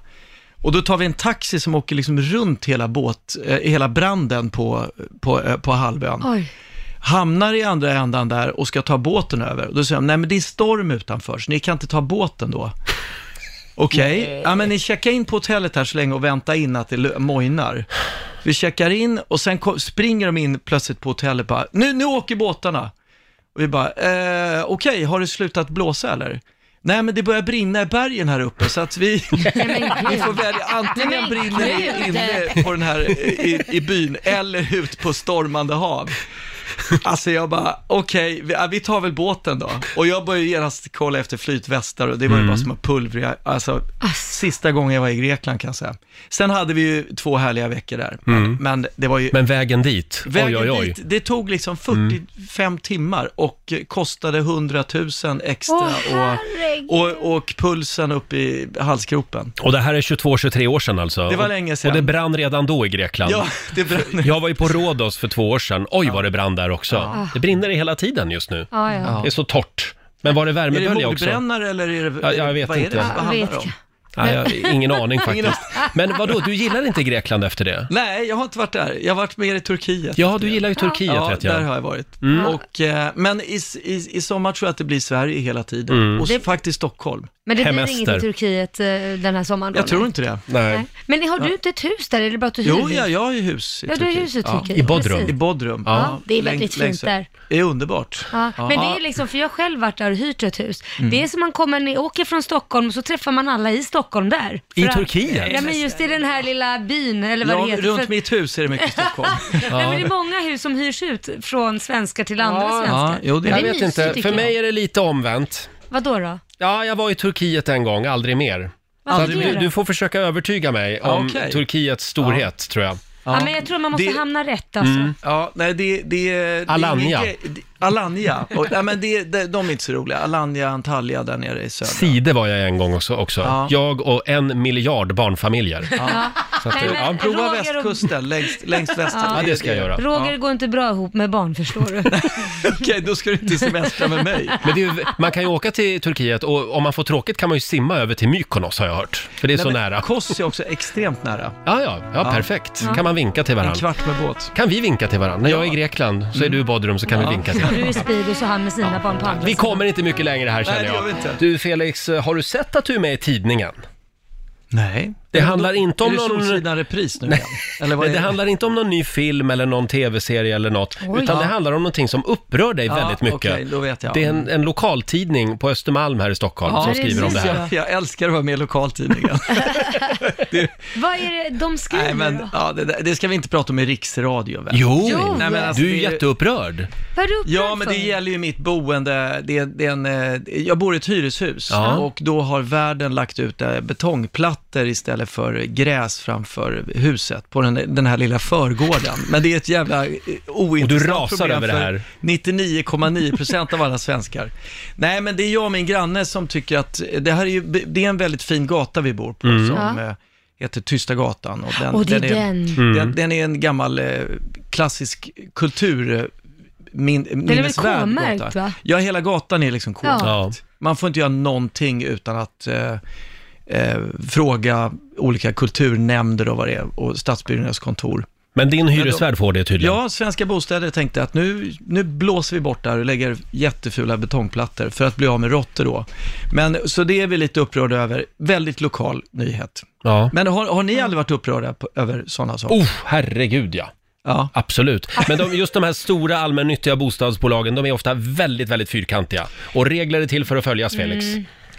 Och då tar vi en taxi som åker liksom runt hela båt, eh, hela branden på, på, eh, på halvön Oj. hamnar i andra ändan där och ska ta båten över. Och då säger de, nej men det är storm utanför, så ni kan inte ta båten då. Okej, ja men ni checkar in på hotellet här så länge och vänta in att det lö- mojnar. Vi checkar in och sen ko- springer de in plötsligt på hotellet bara, nu, nu åker båtarna. Och vi bara, eh, okej, har det slutat blåsa eller? Nej men det börjar brinna i bergen här uppe så att vi, vi får välja, antingen brinner det inne på den här eh, i, i byn eller ut på stormande hav. Alltså jag bara, okej, vi, ja, vi tar väl båten då. Och jag började genast kolla efter flytvästar och det var ju Mm. bara som att pulvriga, alltså sista gången jag var i Grekland kan jag säga. Sen hade vi ju två härliga veckor där, men, men det var ju... Mm. Men vägen dit, Vägen oj Mm. oj oj. dit, det tog liksom 45 timmar och kostade 100 000 extra Åh, herregud. och, och, och pulsen upp i halsgropen. Och det här är 22-23 år sedan alltså? Det var Och- länge sedan. Och det brann redan då i Grekland? Ja, det brann. Jag var ju på Rhodos för två år sedan. Oj, vad det brann där också. Det brinner i hela tiden just nu. Ja, ja. Det är så torrt. Men var det Är det värmebölja också? mordbrännare eller är det, Ja, jag vet vad inte. är det Ja, vad handlar vet det om? Nej, jag, ingen aning faktiskt. Men vadå, du gillar inte Grekland efter det? Nej, jag har inte varit där. Jag har varit mer i Turkiet. Ja, du gillar ju Turkiet Ja, vet där jag. Mm. har jag varit. Och, eh, men i, i, i sommar tror jag att det blir Sverige hela tiden. Mm. Och Det- faktiskt Stockholm. Men det blir Hemester. inget i Turkiet eh, den här sommaren då? Jag tror nej? inte det. Nej. Men har du inte ett hus där? Är det bara att du Jo, hus? ja, jag har ju hus i Ja, du har Turkiet. hus i Ja. Turkiet. I Bodrum. I precis. Bodrum. Ja, det är läng- väldigt längst fint där. Det är underbart. Ja, Ja. Mm. men liksom, det är liksom, för jag själv varit där och hyrt ett hus. Det är som man kommer, ner- åker från Stockholm och så träffar man alla i Stockholm där. I För att- Turkiet? Ja, men just i den här lilla byn eller vad det Ja, heter. runt För- mitt hus är det mycket Stockholm. Nej, men det är många hus som hyrs ut från svenskar till andra svenskar. Ja, jo, det är Men Jag det. vet mysigt, inte, tycker för jag. mig är det lite omvänt. Vadå då? Ja, jag var i Turkiet en gång, aldrig mer. Så att Varför det du, då? du får försöka övertyga mig om Okej. Turkiets storhet, tror jag. Ja, men jag tror man måste Det- Mm. hamna rätt alltså. Ja, nej, det, det, det Alanya. Det, det, Alanya. Och, nej, men det, det, de är inte så roliga. Alanya, Antalya där nere i söder. Side var jag en gång också. också. Ja. Jag och en miljard barnfamiljer. Så att, Nej, eh, men- ja. Prova Roger och- västkusten, längst, längst väster. ja, det ska jag göra. Roger går inte bra ihop med barn förstår du. Okej, då ska du inte semestra med mig. Men det är ju, man kan ju åka till Turkiet och om man får tråkigt kan man ju simma över till Mykonos har jag hört. För det är så Nej, men nära. Kos är också extremt nära. Ja, ja, ja, perfekt. Kan man vinka till En varandra. kvart Mm. med båt. Kan vi vinka till varandra? När jag är i Grekland så är du i badrum så kan vi vinka till varandra. Du är speed och så han med sina barn på andra Vi sidan. kommer inte mycket längre här känner det gör vi jag. inte. Du Felix, har du sett att du är med i tidningen? Nej. Det handlar inte om är det någon- Solsidan repris nu igen? Eller vad Nej, är det det? handlar inte om någon ny film eller någon tv-serie eller något, utan det handlar om någonting som upprör dig Ja, väldigt mycket. okej, då vet jag. Det är en, en lokaltidning på Östermalm här i Stockholm som skriver om det här. Ja, Jag älskar att vara med i lokaltidningen. Vad är det de skriver Nej, men då? ja, det, där- det ska vi inte prata om i riksradio väl? Jo, Jo. Nej, men alltså, du är ju det är- jätteupprörd. Vad är du upprörd Ja, men det för? gäller ju mitt boende. Det, är- det är en, eh, jag bor i ett hyreshus Ja. och då har värden lagt ut eh, betongplattor istället för gräs framför huset på den, den här lilla förgården. Men det är ett jävla eh, ointressant Och du rasar problem över det för här. 99,9 procent av alla svenskar. Nej, men det är jag och min granne som tycker att eh, det här är ju, det är en väldigt fin gata vi bor på Mm. som eh, heter Tysta gatan. Och den, Och det är den, Mm. den är en gammal eh, klassisk kultur eh, min, väl minnesvärd K-märkt, gata. va? Ja, hela gatan är liksom k Ja. Ja. Man får inte göra någonting utan att eh, eh, fråga olika kulturnämnder och vad det är, och Stadsbyggnads kontor. Men din hyresvärd får det tydligen. Ja, Svenska Bostäder tänkte att nu, nu blåser vi bort det här och lägger jättefula betongplattor för att bli av med råttor då. Men, så det är vi lite upprörda över. Väldigt lokal nyhet. Ja. Men har, har ni aldrig varit upprörda på, över sådana saker? Oh, herregud ja. Ja. Absolut. Men de, just de här stora allmännyttiga bostadsbolagen, de är ofta väldigt, väldigt fyrkantiga. Och regler är till för att följas, Felix.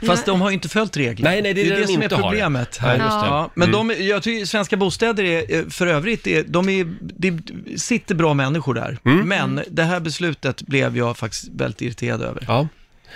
Fast de har ju inte följt reglerna. Nej, nej, det är det de som inte är har. problemet. Här. Ja, just det. Mm. Ja, men de, jag tycker svenska bostäder är, eh, för övrigt, är, de är, det sitter bra människor där. Mm. Men det här beslutet blev jag faktiskt väldigt irriterad över. Ja.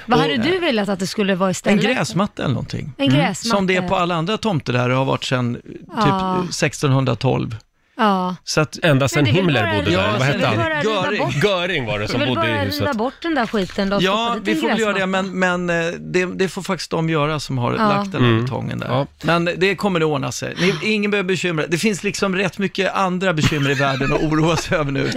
Vad hade du velat att det skulle vara En istället? gräsmatta eller någonting. En Mm. gräsmatta. Som det är på alla andra tomter där och har varit sedan eh, typ Ja. eh, 1612. Ja. Så att, Ända Men sedan det är väl Himmler bara- bodde Ja, där, eller vad så hette det är han? väl bara riva Göring. bort. Göring var det Jag som vill bodde i bara huset. riva bort den där skiten då och stoppa ja, dit vi en får väl göra det, gräsmatta. men, men eh, det, det får faktiskt de göra som har Ja. lagt den här betongen där. Mm. Ja. Men det kommer att ordna sig. Ni, ingen behöver bekymra Det finns liksom rätt mycket andra bekymmer i världen att oroa sig över nu.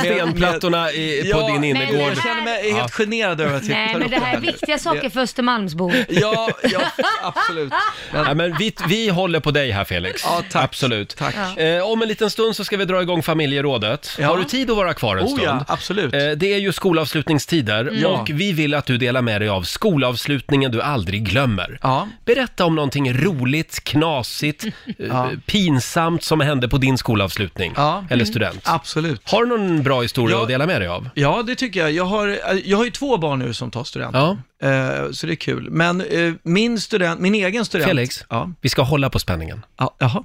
Stenplattorna i, på Ja, din men- innergård. Jag känner mig helt generad över att jag Nej, tar men upp det här är nu. viktiga saker för Östermalmsbor. Ja, ja, absolut. Men, Ja, men vi, vi håller på dig här Felix. Ja, tack. Absolut. Tack. Ja. Eh, om en liten stund så ska vi dra igång familjerådet. Ja. Har du tid att vara kvar en Oh stund? ja, absolut. Mm. Eh, det är ju skolavslutningstider och vi vill att du delar med dig av skolavslutningen du aldrig glömmer. Ja. Berätta om någonting roligt, knasigt, eh, pinsamt som hände på din skolavslutning. Ja. Eller student. Absolut. Har du någon bra historia Ja. att dela med dig av? Ja, det tycker jag. Jag har, eh, jag har ju två barn nu som tar studenten. Eh, så det är kul. Men eh, min student, min egen student... Felix, Ja, vi ska hålla på spänningen. ja jaha.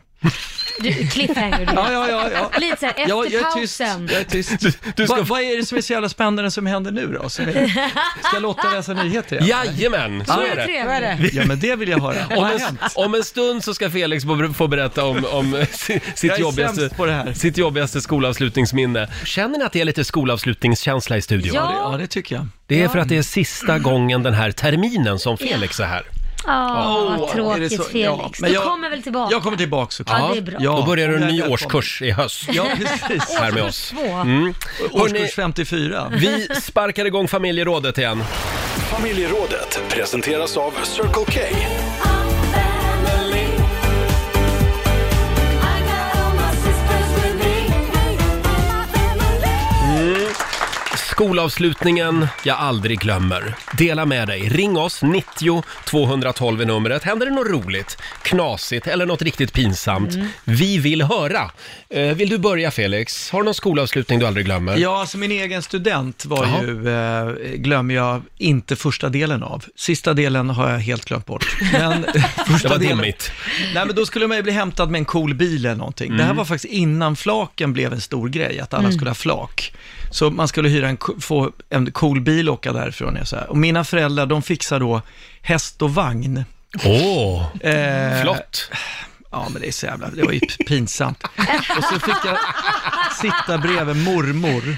Du, cliffhanger du. Ja, ja, ja. ja. Lite såhär efter Ja, jag är tyst. pausen. Jag är tyst. Du, du ska- Va, vad är det som är så jävla spännande som händer nu då? Som är... Ska Lotta läsa nyheter igen? Jajamän, så är det. Vad är det? Ja, men det vill jag höra. Om Vad har en, hänt? om en stund så ska Felix få- få berätta om, om si- Jag sitt, är jobbigaste, sämst på det här. sitt jobbigaste skolavslutningsminne. Känner ni att det är lite skolavslutningskänsla i studion? Ja. Ja, det tycker jag. Det är för att det är sista gången den här terminen som Felix är här. Åh, vad Åh, är det tråkigt så- ja, Felix. men du jag- kommer väl tillbaka? Jag kommer tillbaka såklart. Ja, det är bra. Då börjar du en jag är ny välkommen. årskurs i höst Ja, precis. här med oss. Mm. Två. Hörrni- Årskurs 54. Vi sparkar igång familjerådet igen. Familjerådet presenteras av Circle K. Skolavslutningen jag aldrig glömmer. Dela med dig. Ring oss, 90 212 är numret. Händer det något roligt, knasigt eller något riktigt pinsamt? Vi vill höra. Eh, Vill du börja Felix? Har du någon skolavslutning du aldrig glömmer? Ja, alltså min egen student var Jaha. ju, eh, glömmer jag inte första delen av. Sista delen har jag helt glömt bort. Men det första var delen... dimmigt. Nej, men då skulle man ju bli hämtad med en cool bil eller någonting. Det Mm. här var faktiskt innan flaken blev en stor grej, att alla skulle ha flak. Så man skulle hyra en, co- få en cool bil och åka därifrån. är Så här. Och mina föräldrar, de fixar då häst och vagn. Åh, Eh, flott. Ja, men det är så jävla, det var ju p- pinsamt. Och så fick jag sitta bredvid mormor.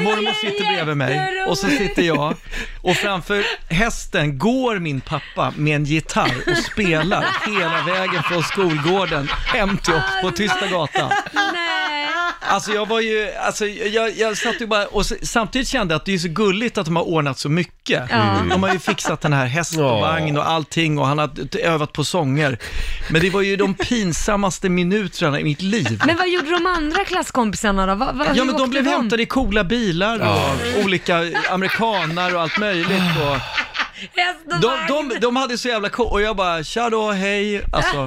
Mormor sitter bredvid mig och så sitter jag och framför hästen går min pappa med en gitarr och spelar hela vägen från skolgården hem till oss på Tysta gatan. Nej. Alltså jag var ju, alltså jag, jag satt ju bara, och s- samtidigt kände jag att det är så gulligt att de har ordnat så mycket. Mm. De har ju fixat den här häst och Ja. vagn och allting och han har t- övat på sånger. Men det var ju de pinsammaste minuterna i mitt liv. Men vad gjorde de andra klasskompisarna då? Va, va, Ja hur men de åkte blev hämtade i coola bilar och olika amerikanar och allt möjligt. Och Häst och de, vagn. de, de hade så jävla coolt, och jag bara tja då, hej. Alltså,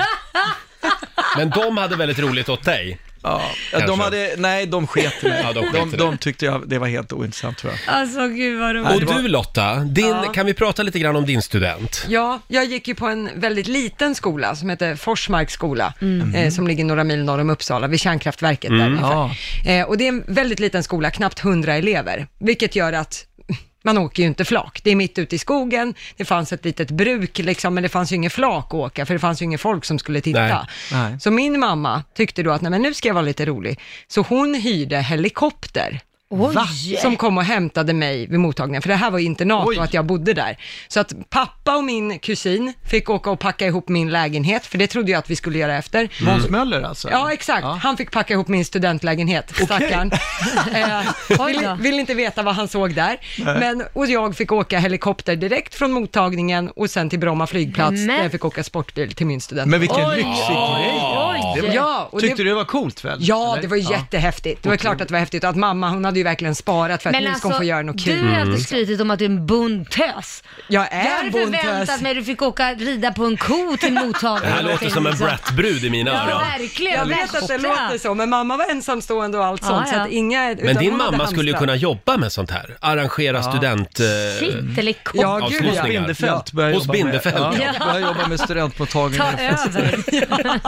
Men de hade väldigt roligt åt dig. ja, de Kanske. hade, nej de sket i mig. Ja, de sket i de, dig. de tyckte jag, det var helt ointressant tror jag. Alltså gud vad roligt. Och det var- du Lotta, din, Ja. kan vi prata lite grann om din student? Ja, jag gick ju på en väldigt liten skola som heter Forsmarks skola, eh, som ligger några mil norr om Uppsala, vid kärnkraftverket där ungefär. Eh, och det är en väldigt liten skola, knappt 100 elever, vilket gör att man åker ju inte flak. Det är mitt ute i skogen, det fanns ett litet bruk liksom, men det fanns ju ingen flak att åka, för det fanns ju ingen folk som skulle titta. Nej. Nej. Så min mamma tyckte då att, nej men nu ska jag vara lite rolig, så hon hyrde helikopter. Oj. Som kom och hämtade mig vid mottagningen, för det här var ju internat Oj. och att jag bodde där. Så att pappa och min kusin fick åka och packa ihop min lägenhet, för det trodde jag att vi skulle göra efter. Måns Möller alltså? Ja, exakt. Han fick packa ihop min studentlägenhet, stackarn. eh, Oj då. vill, vill inte veta vad han såg där. Men, och jag fick åka helikopter direkt från mottagningen och sen till Bromma flygplats, Men- där jag fick åka sportbil till min student. Men vilken Oj. lyxig grej! Oj. ja, och Tyckte det, du det var coolt väl? ja, Eller? det var jättehäftigt. Det var klart att det var häftigt och att mamma, hon hade ju verkligen sparat för att Men nu ska hon alltså, få göra något kul. du har ju alltid skrytit om att du är en bondtös. Jag är Jag hade en bondtös. förväntat mig att du fick åka rida på en ko till Det mottagningen. här låter som en Brat-brud i mina Ja, öron. verkligen. Jag vet att det låter så, men mamma var ensamstående och allt Ja, sånt. Så ja. att inga, utan Men din hon hade mamma skulle ju kunna hamstrat. jobba med sånt här. Arrangera student... eh, Shit, eller ko. Ja, gud, avslutningar. ja. Bindefält Ja. började Hos jobba Bindefält, med, ja. ja, började jobba med Ta studentmottagningen. över.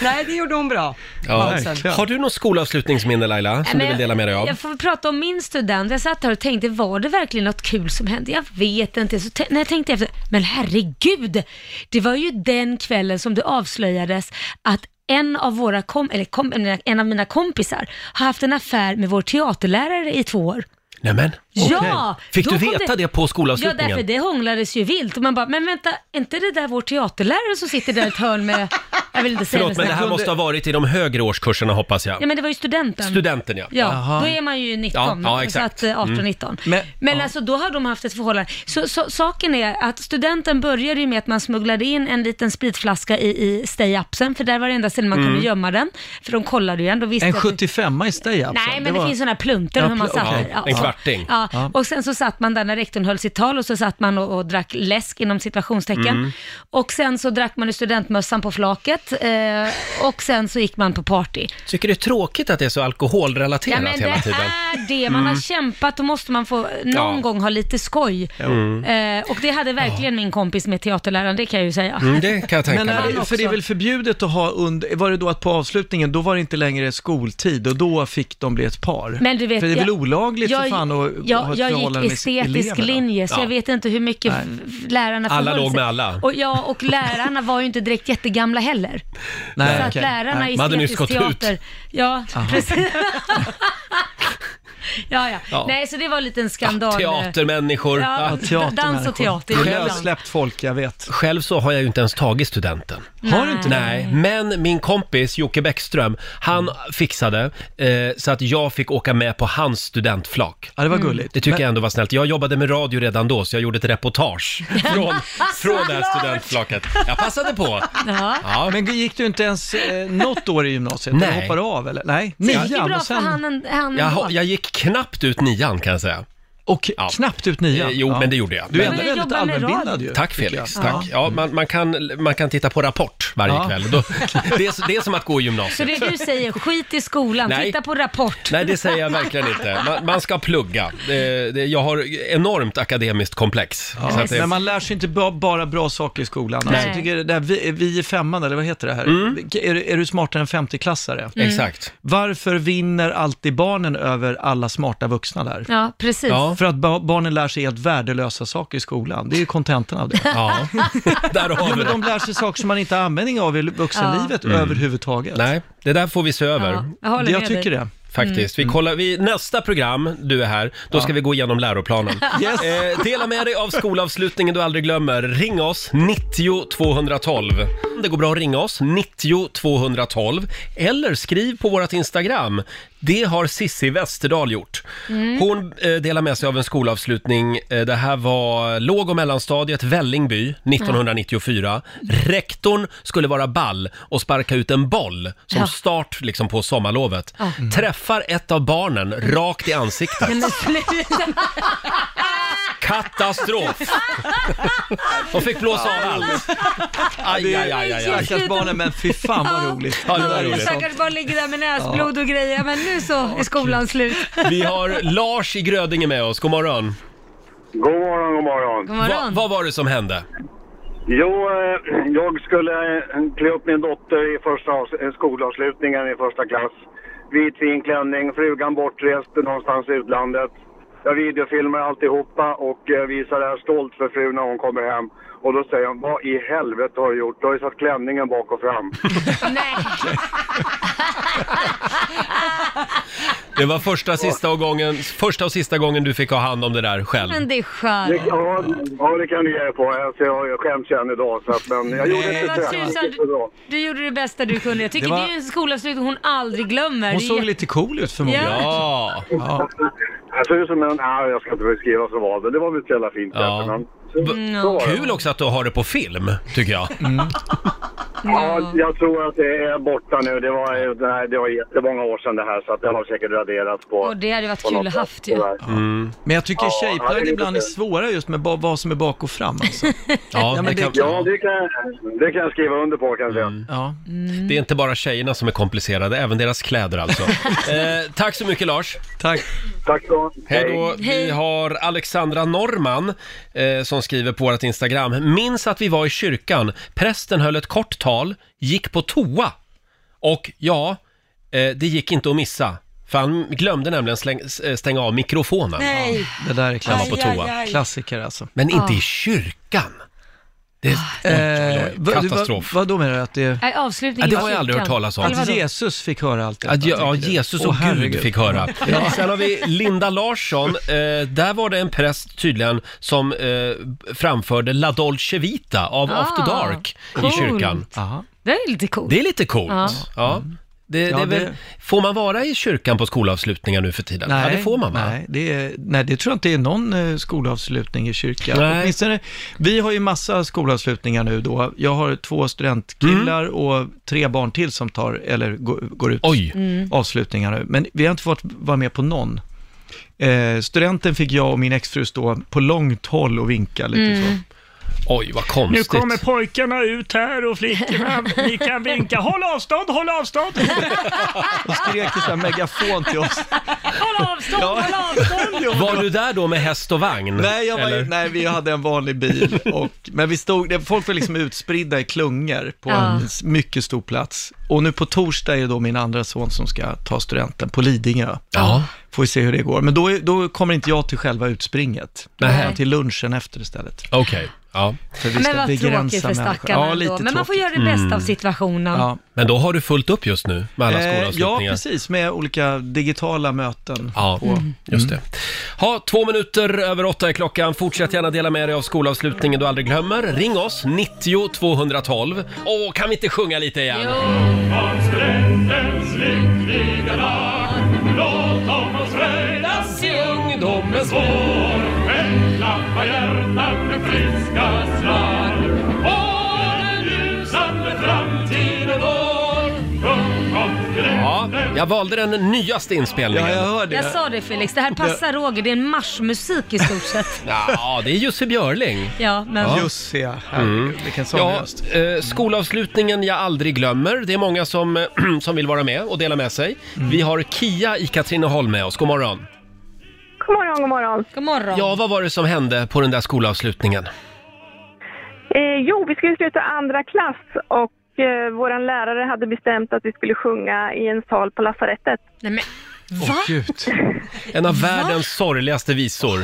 Nej, det gjorde hon bra. Ja. verkligen. Har du något skolavslutningsminne Laila, som du Men vill dela med dig av? Jag får väl prata om min student. Jag satt här och tänkte, var det verkligen något kul som hände? Jag vet inte. Så tä- när jag tänkte efter, men herregud! Det var ju den kvällen som det avslöjades att en av, våra kom, eller kom, en av mina kompisar har haft en affär med vår teaterlärare i två år. Nämen, Ja! fick då du kom veta det, på Ja, skolavslutningen? därför det hånglades ju vilt. Och man bara, men vänta, är inte det där vår teaterlärare som sitter där i ett hörn med... Jag vill inte säga Förlåt, men det något här sånt. måste ha varit i de högre årskurserna hoppas jag. Ja, men det var ju studenten. Studenten ja. Ja, då är man ju 19. Ja, ja, så exakt. att eh, 18, 19. Men- Men, ja. alltså då har de haft ett förhållande. Så, så saken är att studenten började ju med att man smugglade in en liten spritflaska i, i stay-upsen, för där var det enda stället man kunde gömma den. För de kollade ju ändå. visste En alltså. att- 75 i stay Nej, men det, finns sådana här pluntor Ja, hur man pl- satt okej. där. Ja, En så- kvarting. Ja. Och sen så satt man där när rektorn höll sitt tal och så satt man och, och drack läsk inom citationstecken. Och sen så drack man ur studentmössan på flaket eh, och sen så gick man på party. Tycker det är tråkigt att det är så alkoholrelaterat Ja, men hela det tiden. Mm. är det. Man har kämpat, då måste man få någon Ja. gång ha lite skoj. Mm. Eh, och det hade verkligen min kompis med teaterläraren, det kan jag ju säga. Mm, det kan jag tänka Men mig. är det, för det är väl förbjudet att ha under, var det då att på avslutningen, då var det inte längre skoltid och då fick de bli ett par? Men du vet, för det är väl jag- olagligt för Jag, fan att ha jag, ett jag gick förhållande med estetisk eleverna? linje, så Ja. jag vet inte hur mycket Nej. f- f- lärarna Alla förhöll låg sig. med alla. Och, ja, och lärarna var ju inte direkt jättegamla heller. Nej, så att okej. lärarna Nej. i Man hade nyss estetisk gått ut. teater... Ja, precis. ja, ja, Ja. Nej, så det var en liten skandal. Ah, teatermänniskor. Ja, Ah. Teatermänniskor. dans och teater. Det är ibland. lössläppt folk, jag vet. Själv så har jag ju inte ens tagit studenten. Har du inte det? Nej, men min kompis Jocke Bäckström, han fixade eh, så att jag fick åka med på hans studentflak. Ja, det var gulligt. Det tycker jag ändå var snällt. Jag jobbade med radio redan då, så jag gjorde ett reportage från, från det här studentflaket. Jag passade på. Ja. Ja, Men gick du inte ens eh, något år i gymnasiet? Nej. Du hoppade av eller? Nej, Det gick ju nian bra och för sen... han, han jag, ändå. jag gick knappt ut nian kan jag säga. Och Ja. knappt ut nian. Eh, jo, Ja. men det gjorde jag. Du är Men- ändå Men jag väldigt jobbar med allmänbildad radio. ju. Tack tycker Felix, jag. tack. Ja, man, man, kan, man kan titta på Rapport varje Ja. kväll. Då, det, är, det är som att gå i gymnasiet. Så det du säger, skit i skolan, Nej. titta på Rapport. Nej, det säger jag verkligen inte. Man, man ska plugga. Det, det, jag har enormt akademiskt komplex. Ja. Så att det, Men man lär sig inte ba- bara bra saker i skolan. Nej. Alltså, jag tycker det där, vi, vi i femman, eller vad heter det här? Mm. Är, du- är du smartare än 50-klassare? Exakt. Varför vinner alltid barnen över alla smarta vuxna där? Ja, precis. Ja. För att ba- barnen lär sig helt värdelösa saker i skolan. Det är ju kontentan av det. Ja, där har Jo, vi Mm. men det. de lär sig saker som man inte har användning av i vuxenlivet överhuvudtaget. Mm. Nej, det där får vi se över. Ja, jag håller jag med tycker dig. det. Faktiskt. Vi kollar, vi, nästa program, du är här, då ska vi gå igenom läroplanen. Yes. Eh, dela med dig av skolavslutningen du aldrig glömmer. Ring oss, 90 212. Det går bra att ringa oss, 90 212. Eller skriv på vårt Instagram. Det har Sissi Westerdahl gjort. Mm. Hon eh, delar med sig av en skolavslutning. Eh, det här var låg och mellanstadiet, Vällingby, 1994. Rektorn skulle vara ball och sparka ut en boll som Ja. Mm. start liksom, på sommarlovet. Träffar ett av barnen rakt i ansiktet. Men sluta. Katastrof! De fick blåsa av allt. Aj, aj, aj, aj, aj. Stackars barnen, men fy fan vad roligt. Ja, det var där är roligt. sånt. Stackars barn ligger där med näsblod och grejer, men nu så är skolan slut. Vi har Lars i Grödinge med oss, god morgon. God morgon, god morgon. God Va, morgon. vad var det som hände? Jo, eh, jag skulle eh, klä upp min dotter i första avs- eh, skolavslutningen i första klass. Vit finklänning, frugan bortrest någonstans i utlandet. Jag videofilmar alltihopa och eh, visar det här stolt för frun när hon kommer hem. Och då säger hon, vad i helvete har du gjort? Du har ju satt klänningen bak och fram. Nej. Det var första, sista och gången, första och sista gången du fick ha hand om det där själv. Men det är Det, skönt. ja, ja, det kan du ge er på. Alltså, jag skäms än idag. Så att, men jag gjorde Men inte vad det. tusan, Det gick så bra. Du gjorde det bästa du kunde. Jag tycker Det det, var- är ju en skolavslutning hon aldrig glömmer. Hon Det är såg jätte- lite cool ut förmodligen. Ja. Ja, Ja. Jag ser ut som en... Nej, jag ska inte beskriva vad som var det. Det var väl ett jävla fint Ja. kanske, men... Så, Mm, så var det. kul också att du har det på film, tycker jag. Ja, Ja. jag tror att det är borta nu. Det var, ju- det här- det var jättemånga år sedan det här så att det har säkert raderats på... Och det hade varit på kul något att sätt, haft ju. tyvärr. Mm. Men jag tycker Ja, det är tjejplagg lite ibland är synd. svåra just med ba- vad som är bak och fram alltså. Ja, men det, det- kan, Ja, det kan, jag- det kan jag skriva under på kan jag säga. Mm. Ja. det är inte bara tjejerna som är komplicerade, även deras kläder alltså. Eh, tack så mycket Lars. Tack. Tack så Hej då. Vi Hej. har Alexandra Norman eh, som skriver på vårt Instagram. Minns att vi var i kyrkan. Prästen höll ett kort tal, gick på toa och ja, eh, det gick inte att missa. För han glömde nämligen släng, s- eh, stänga av mikrofonen. Nej, Det där är Han var på klassiker. toa. Klassiker alltså. Men Ah. inte i kyrkan. Det, Eh, vad- Katastrof. Vad, vad då menar du? Att, det, Nej, avslutning Ja, det i har jag aldrig hört kyrkan. talas om. Eller att vadå? Jesus fick höra allt detta? Att, ja, ja, tänker du? Jesus Åh, och Gud herregud. fick höra. Sen har vi Linda Larsson. Eh, där var det en präst tydligen som eh, framförde La Dolce Vita av Ah, After Dark i coolt. kyrkan. Aha. Det är lite coolt. Det är lite coolt. Ja. Ja. Det, det Ja, är väl, det- Får man vara i kyrkan på skolavslutningar nu för tiden? Nej, ja, det får man va? Nej det, är, nej, det tror jag inte är någon eh, skolavslutning i kyrkan. Nej. Åtminstone, vi har ju massa skolavslutningar nu då. Jag har två studentkillar och tre barn till som tar, eller går, går ut Mm. Oj. avslutningar nu. Men vi har inte fått vara med på någon. Eh, studenten fick jag och min exfru stå på långt håll och vinka lite så. Oj, vad konstigt. pojkarna ut här och flickorna. Ni kan vinka. Håll avstånd, håll avstånd! Och skrek i sån här megafon till oss. Håll avstånd, håll avstånd! Var du där då med häst och vagn? Nej, jag var, Eller? ju- nej, vi hade en vanlig bil. Och, men vi stod, det- folk var liksom utspridda i klungor på Ja. en s- mycket stor plats. Och nu på torsdag är det då min andra son som ska ta studenten på Lidingö. Ja. Får vi se hur det går. Men då, är- då kommer inte jag till själva utspringet. Nähä. Utan Till lunchen efter istället. Okej. Ja. För vi Men vad tråkigt begränsa för människor. stackarna Ja, lite ändå. Men man får tråkigt. göra det bästa av situationen. Ja. Men då har du fullt upp just nu med alla Eh, ja, skolavslutningar. precis. Med olika digitala möten. Ja, just det. Ha, två minuter över åtta är klockan. Fortsätt gärna dela med dig av skolavslutningen du aldrig glömmer. Ring oss, 90 212. Åh, kan vi inte sjunga lite igen? Från strändens lyckliga lag Låt dem oss fröjdas i ungdomens vår Men klappa hjärtat med friska slag Och den ljusande framtiden vår Sjung om Ja, Jag valde den nyaste inspelningen. Jag sa det Felix, det här passar Roger. Det är en marschmusik i stort sett. Ja, det är Jussi Björling. Ja, men... Jussi, ja. Mm. Vilken sång Ja, eh, skolavslutningen jag aldrig glömmer. Det är många som, eh, som vill vara med och dela med sig. Mm. Vi har Kia i Katrineholm med oss. God morgon. God morgon, god morgon. God morgon. Ja, vad var det som hände på den där skolavslutningen? Eh, jo, vi skulle sluta andra klass och eh, vår lärare hade bestämt att vi skulle sjunga i en sal på lasarettet. Nej, men... Åh, Gud. En av världens sorgligaste visor.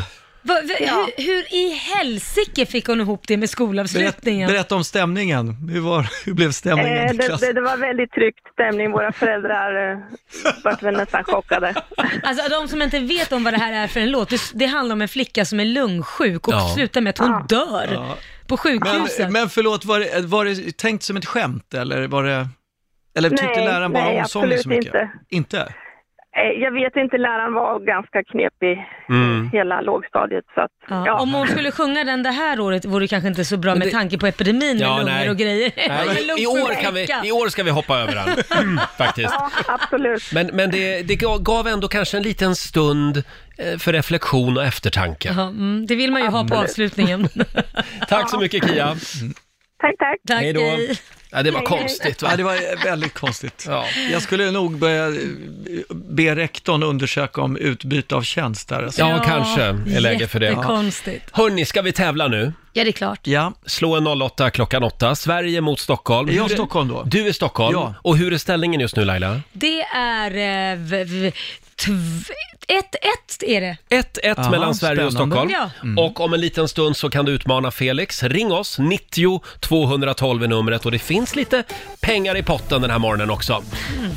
Va, va, hur, hur i helsike fick hon ihop det med skolavslutningen? Berätta om stämningen. Hur, var, hur blev stämningen Eh, i det, klassen? det, det var väldigt tryckt stämning. Våra föräldrar eh, vart väl nästan chockade. Alltså de som inte vet om vad det här är för en låt, det, det handlar om en flicka som är lungsjuk och Ja. slutar med att hon dör Ja. på sjukhuset. Men, men förlåt, var det, var det tänkt som ett skämt eller var det... Eller tyckte Nej, läraren bara nej, om sången så absolut mycket? inte. Inte? Eh, jag vet inte, läraren var ganska knepig Mm. hela lågstadiet. Så att, Ja. ja. Om hon skulle sjunga den det här året vore det kanske inte så bra med tanke på epidemin med Ja, lungor nej. och grejer. Nej, En i, lungsjuk år kan vi, flicka. I år ska vi hoppa över den, Mm, faktiskt. Ja, absolut. Men, men det, det gav ändå kanske en liten stund eh, för reflektion och eftertanke. Ja, mm, det vill man ju ha på Absolut. avslutningen. Tack så mycket Kia. Tack, tack. Tack, Hej då. hej. Ja, det var konstigt va? Ja, det var väldigt konstigt. Ja. Jag skulle nog börja eh, be rektorn undersöka om utbyte av tjänst där. alltså. Ja, Ja, kanske är läge för det. Jättekonstigt. Hörni, ska vi tävla nu? Ja, det är klart. Ja. Slå en 08 klockan 8. Sverige mot Stockholm. Är jag Hur Stockholm då? Du är Stockholm. Ja. Och hur är ställningen just nu Laila? Det är... 1-1 v, v, tv- ett, ett är det. 1-1 Aha, mellan Sverige och spännande. Stockholm. Ja. Mm. Och om en liten stund så kan du utmana Felix. Ring oss, 90 212 är numret och det finns lite pengar i potten den här morgonen också.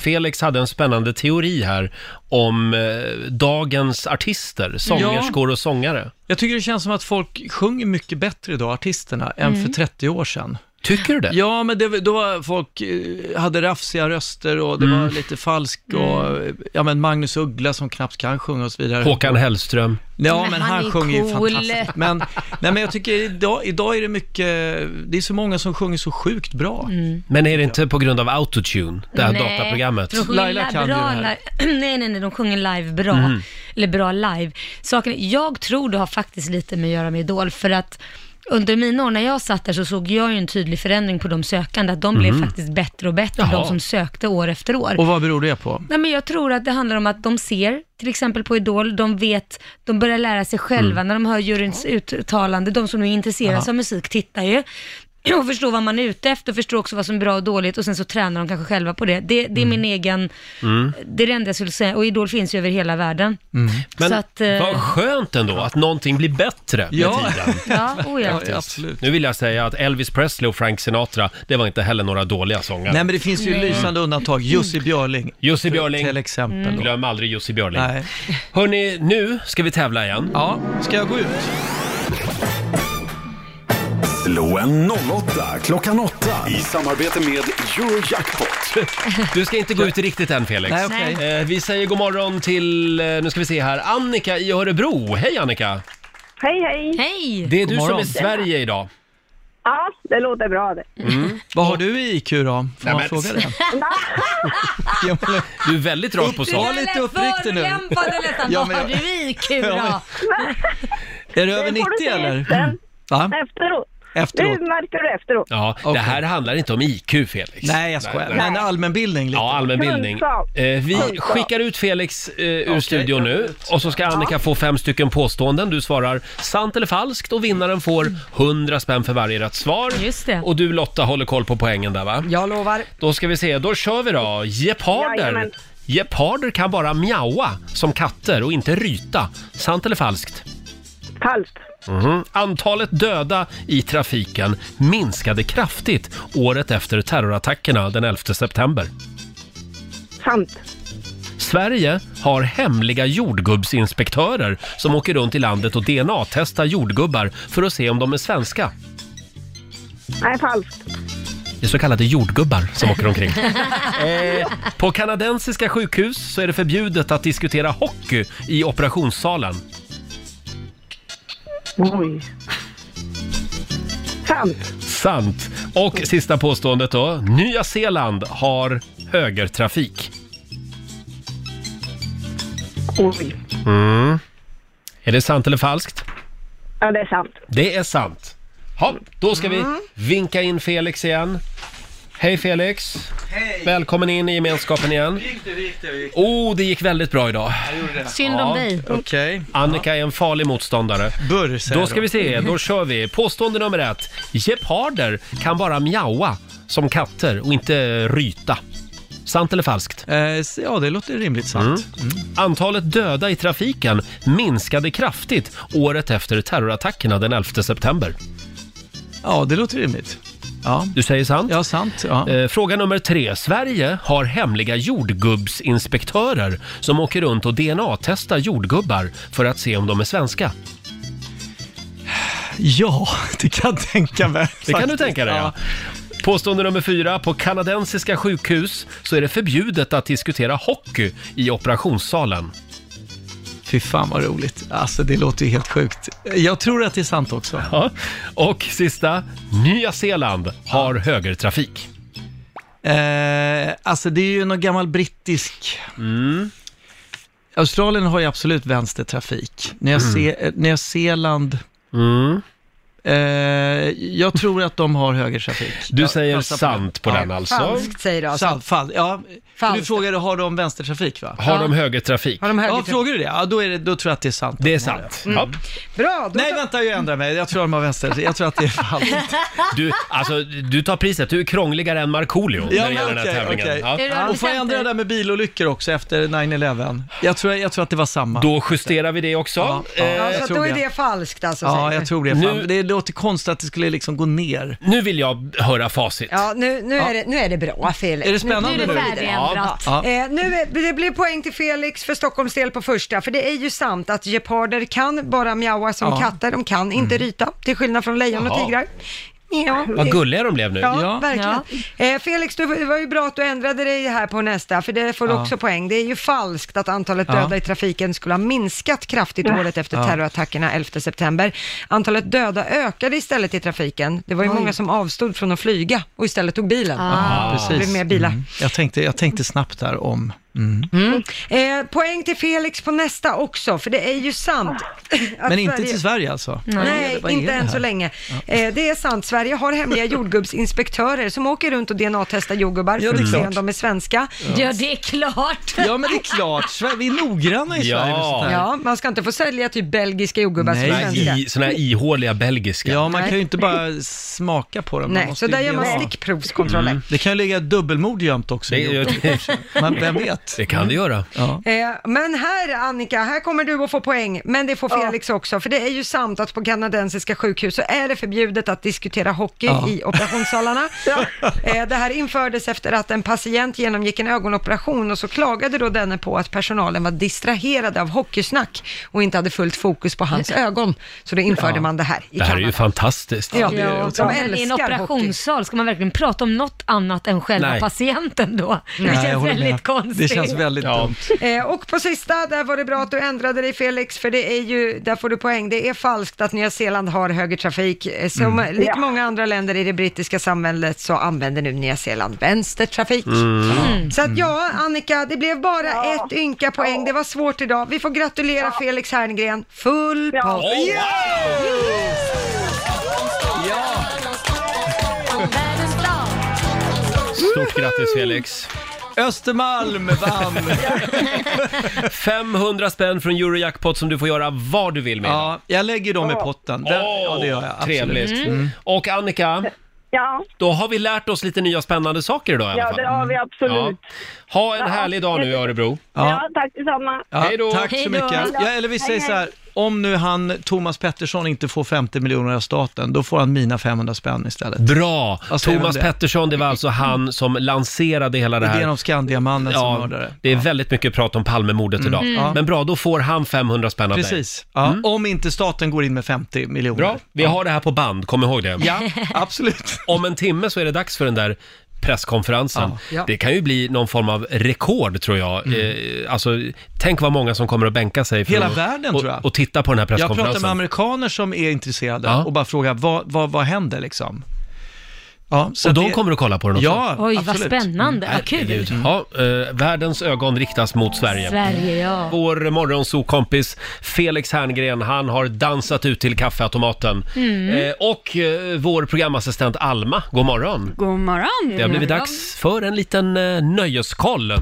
Felix hade en spännande teori här om eh, dagens artister, sångerskor och sångare. Jag tycker det känns som att folk sjunger mycket bättre idag, artisterna, än Mm. för 30 år sedan. Tycker du det? Ja, men det, var- då var folk eh, hade rafsiga röster och det Mm. var lite falsk och, eh, Mm. ja men Magnus Uggla som knappt kan sjunga och så vidare. Håkan Hellström. Ja, Men men, han han, är sjunger cool. ju fantastiskt. Men, nej, men jag tycker idag, idag är det mycket, det är så många som sjunger så sjukt bra. Mm. Men är det inte på grund av autotune, det här dataprogrammet? De sjunger Laila kan bra ju det här. Nej, nej, nej, de sjunger live bra. Mm. Eller bra live. Saken, är- jag tror det har faktiskt lite med att göra med Idol, för att under mina år när jag satt där så såg jag ju en tydlig förändring på de sökande, att de blev Mhm. faktiskt bättre och bättre, Jaha. de som sökte år efter år. Och vad beror det på? Nej, men jag tror att det handlar om att de ser, till exempel på Idol, de vet, de börjar lära sig själva när de hör juryns uttalande. De som nu intresserar sig Aha. av musik tittar ju och förstår vad man är ute efter, förstår också vad som är bra och dåligt och sen så tränar de kanske själva på det. Det, det är min egen, Mm. det är det enda jag skulle säga. Och Idol finns ju över hela världen. Men Så att, eh, vad skönt ändå att någonting blir bättre med Ja. tiden. Ja, oh ja. Faktiskt. Nu vill jag säga att Elvis Presley och Frank Sinatra, det var inte heller några dåliga sångare. Nej, men det finns ju Nej. lysande undantag. Jussi Björling. Jussi Björling. Till exempel. Mm. då. Glöm aldrig Jussi Björling. Nej. Hörni, nu ska vi tävla igen. Ja, ska jag gå ut? Slå en 08 klockan 8 i samarbete med Eurojackpot. Du ska inte gå ut riktigt än Felix. Nej, okej. Eh, Vi säger god morgon till, eh, nu ska vi se här, Annika i Örebro. Hej Annika! Hej, hej. Hej. Det är du som är Sverige idag. Ja, det låter bra det. Vad har du i IQ då? Får man men- fråga det? Du är väldigt rakt på sak. Var lite uppriktig nu. Ja, Ja, men men jag... jag- Vad har du i IQ Ja, då? Är du över 90 eller? Mm. Va? Efteråt. Efteråt. Nu märker du efteråt. Ja, det här handlar inte om IQ Felix. Nej, jag skojar. Men allmänbildning lite. Ja, allmänbildning. Kunskap. Eh, vi Kunskap. skickar ut Felix eh, ur studion nu och så ska Annika Ja. få fem stycken påståenden. Du svarar sant eller falskt och vinnaren får 100 spänn för varje rätt svar. Just det. Och du Lotta håller koll på poängen där va? Jag lovar. Då ska vi se, då kör vi då. Geparder. Jajamän. Geparder kan bara mjaua som katter och inte ryta. Sant eller falskt? Falskt. Mhm. Antalet döda i trafiken minskade kraftigt året efter terrorattackerna den 11 september. Sant. Sverige har hemliga jordgubbsinspektörer som åker runt i landet och DNA-testar jordgubbar för att se om de är svenska. Nej, falskt. Det är så kallade jordgubbar som åker omkring. eh, på kanadensiska sjukhus så är det förbjudet att diskutera hockey i operationssalen. Oj. Sant. Sant. Och sista påståendet då. Nya Zeeland har högertrafik. Oj. Mm. Är det sant eller falskt? Ja, det är sant. Det är sant. Ja, då ska vi vinka in Felix igen. Hej Felix! Hej! Välkommen in i gemenskapen igen. Oh, det gick väldigt bra idag. Synd om dig. Okay. Annika är en farlig motståndare. Burr, Då ska de. vi se, då kör vi. Påstående nummer ett. Geparder kan bara mjaua som katter och inte ryta. Sant eller falskt? Eh, ja, det låter rimligt sant. Mm. Antalet döda i trafiken minskade kraftigt året efter terrorattackerna den 11 september. Ja, det låter rimligt. Ja. Du säger sant? Ja, sant. Ja. Eh, Fråga nummer tre. Sverige har hemliga jordgubbsinspektörer som åker runt och DNA-testar jordgubbar för att se om de är svenska. Ja, det kan jag tänka mig. Det kan du faktiskt. tänka dig, ja. Påstående nummer fyra. På kanadensiska sjukhus så är det förbjudet att diskutera hockey i operationssalen. Fy fan vad roligt. Alltså det låter ju helt sjukt. Jag tror att det är sant också. Ja. Och sista. Nya Zeeland har högertrafik. Eh, alltså det är ju någon gammal brittisk... Mm. Australien har ju absolut vänstertrafik. Nya, Mm. Se- eh, Nya Zeeland... Eh, jag tror att de har högertrafik. Du Jag säger passar på sant på den alltså. Falskt säger du alltså. Sant, fal- ja. Du frågade, har de vänstertrafik va? Har de högertrafik? Har de höger- Ja, frågar du det? Ja, då, är det, då tror jag att det är sant. Det är sant. Ja. Bra, då Nej, vänta, jag ändrar mig. Jag tror de har vänster. Jag tror att det är falskt. Du, alltså, du tar priset. Du är krångligare än Markoolio när det men gäller den här okej, tävlingen. okej. Ja. Och får jag ändra det där med bilolyckor också efter 9-11? Jag tror, jag tror att det var samma. Då justerar vi det också. Eh, Ja, så jag att tror då är det. det falskt alltså? säger Ja, du. jag tror det. Fan. Nu- Det låter konstigt att det skulle liksom gå ner. Nu vill jag höra facit. Ja, nu, nu, Är det, nu är det bra Felix. Är det spännande nu? nu? går vi vidare. Ja. Ja. Eh, nu är, det blir poäng till Felix för Stockholms del på första, för det är ju sant att geparder kan bara mjaua som Ja. Mm. katter, de kan inte ryta, till skillnad från lejon och Jaha. tigrar. Ja, Vad det- gulliga de blev nu. Ja, Ja. verkligen. Eh, Felix, du, det var ju bra att du ändrade dig här på nästa, för det får du Ja. också poäng. Det är ju falskt att antalet Ja. döda i trafiken skulle ha minskat kraftigt året efter Ja. terrorattackerna 11 september. Antalet döda ökade istället i trafiken. Det var ju många som avstod från att flyga och istället tog bilen. Ah. Ja, Det blev precis. mer bilar. Mm. Jag, tänkte, jag tänkte snabbt där om... Mm. Eh, poäng till Felix på nästa också, för det är ju sant. att Men inte Sverige- till Sverige alltså? Vad är Nej, det- vad är inte det än här? så länge. Eh, det är sant, Sverige har hemliga jordgubbsinspektörer som åker runt och DNA-testar jordgubbar Ja, det för är att se om klart. de är svenska. Ja, det är klart. Ja, men det är klart. Sverige- Vi är noggranna i Ja. Sverige med sånt här. Ja, man ska inte få sälja typ belgiska jordgubbar Nej. som Såna här svenska. i- Såna här ihåliga belgiska. Ja, man Nej. kan ju inte bara smaka på dem. Man Nej, måste så där ju gör man DNA. Mm. stickprovskontroller. Det kan ju ligga dubbelmord gömt också. i Det, jorden. det, Man, vem vet? det kan det göra. Ja. Eh, men här Annika, här kommer du att få poäng, men det får Felix också, för det är ju sant att på kanadensiska sjukhus så är det förbjudet att diskutera hockey Ja. i operationssalarna. eh, det här infördes efter att en patient genomgick en ögonoperation och så klagade då denne på att personalen var distraherad av hockeysnack och inte hade fullt fokus på hans ögon. Så då införde man det här i Det här är Kanada. Mm. ju fantastiskt. Ja, det är de otroligt. Men I en älskar hockey. operationssal, ska man verkligen prata om något annat än själva Nej. patienten då? Det Nej, jag känns håller väldigt med. konstigt. Det känns väldigt Ja. dumt. Eh, och på sista, där var det bra att du ändrade dig Felix, för det är ju, där får du poäng, det är falskt att Nya Zeeland har högertrafik. Eh, Som likt många andra länder i det brittiska samhället så använder nu Nya Zeeland vänstertrafik. Mm. Så att ja, Annika, det blev bara ett ynka poäng, det var svårt idag. Vi får gratulera Felix Herngren, full pott. Oh, wow! Stort grattis Felix! Östermalm vann! 500 spänn från Eurojackpot som du får göra vad du vill med. Ja, jag lägger dem i potten. Den, ja, det gör jag. Absolut. Mm. Trevligt. Mm. Mm. Och Annika, Ja, då har vi lärt oss lite nya spännande saker idag i alla ja fall. det har vi absolut. Ja. Ha en härlig dag nu i Örebro. Ja, Ja. tack detsamma. Ja, Hej då. Tack Hej så då. mycket. Ja, eller vi säger så här, om nu han, Thomas Pettersson, inte får 50 miljoner av staten, då får han mina 500 spänn istället. Bra! Vad säger Thomas du om det? Pettersson, det var alltså han som lanserade hela det här. Idén om Skandiamannen som Ja, mördare. Mm. det är väldigt mycket prat om Palmemordet idag. Ja. Men bra, då får han 500 spänn av dig. Precis. Ja, Om inte staten går in med 50 miljoner. Mm. Bra, vi har det här på band, kom ihåg det. Ja, absolut. Om en timme så är det dags för den där presskonferensen. Ja. Det kan ju bli någon form av rekord tror jag. Eh, alltså, tänk vad många som kommer att bänka sig för Mm. Hela att, världen, och, tror jag. och titta på den här Jag presskonferensen. pratar med amerikaner som är intresserade Ja. och bara frågar vad, vad, vad händer liksom? Ja, så och att de det- kommer att kolla på den också? Ja, Oj, vad spännande. Mm, Vad Herregud. kul. Ja, eh, världens ögon riktas mot Sverige. Sverige, ja. Vår morgonsokompis Felix Herngren, han har dansat ut till kaffeautomaten. Mm. Eh, och eh, vår programassistent Alma, god morgon. God morgon! Det har blivit dags för en liten eh, nöjeskoll.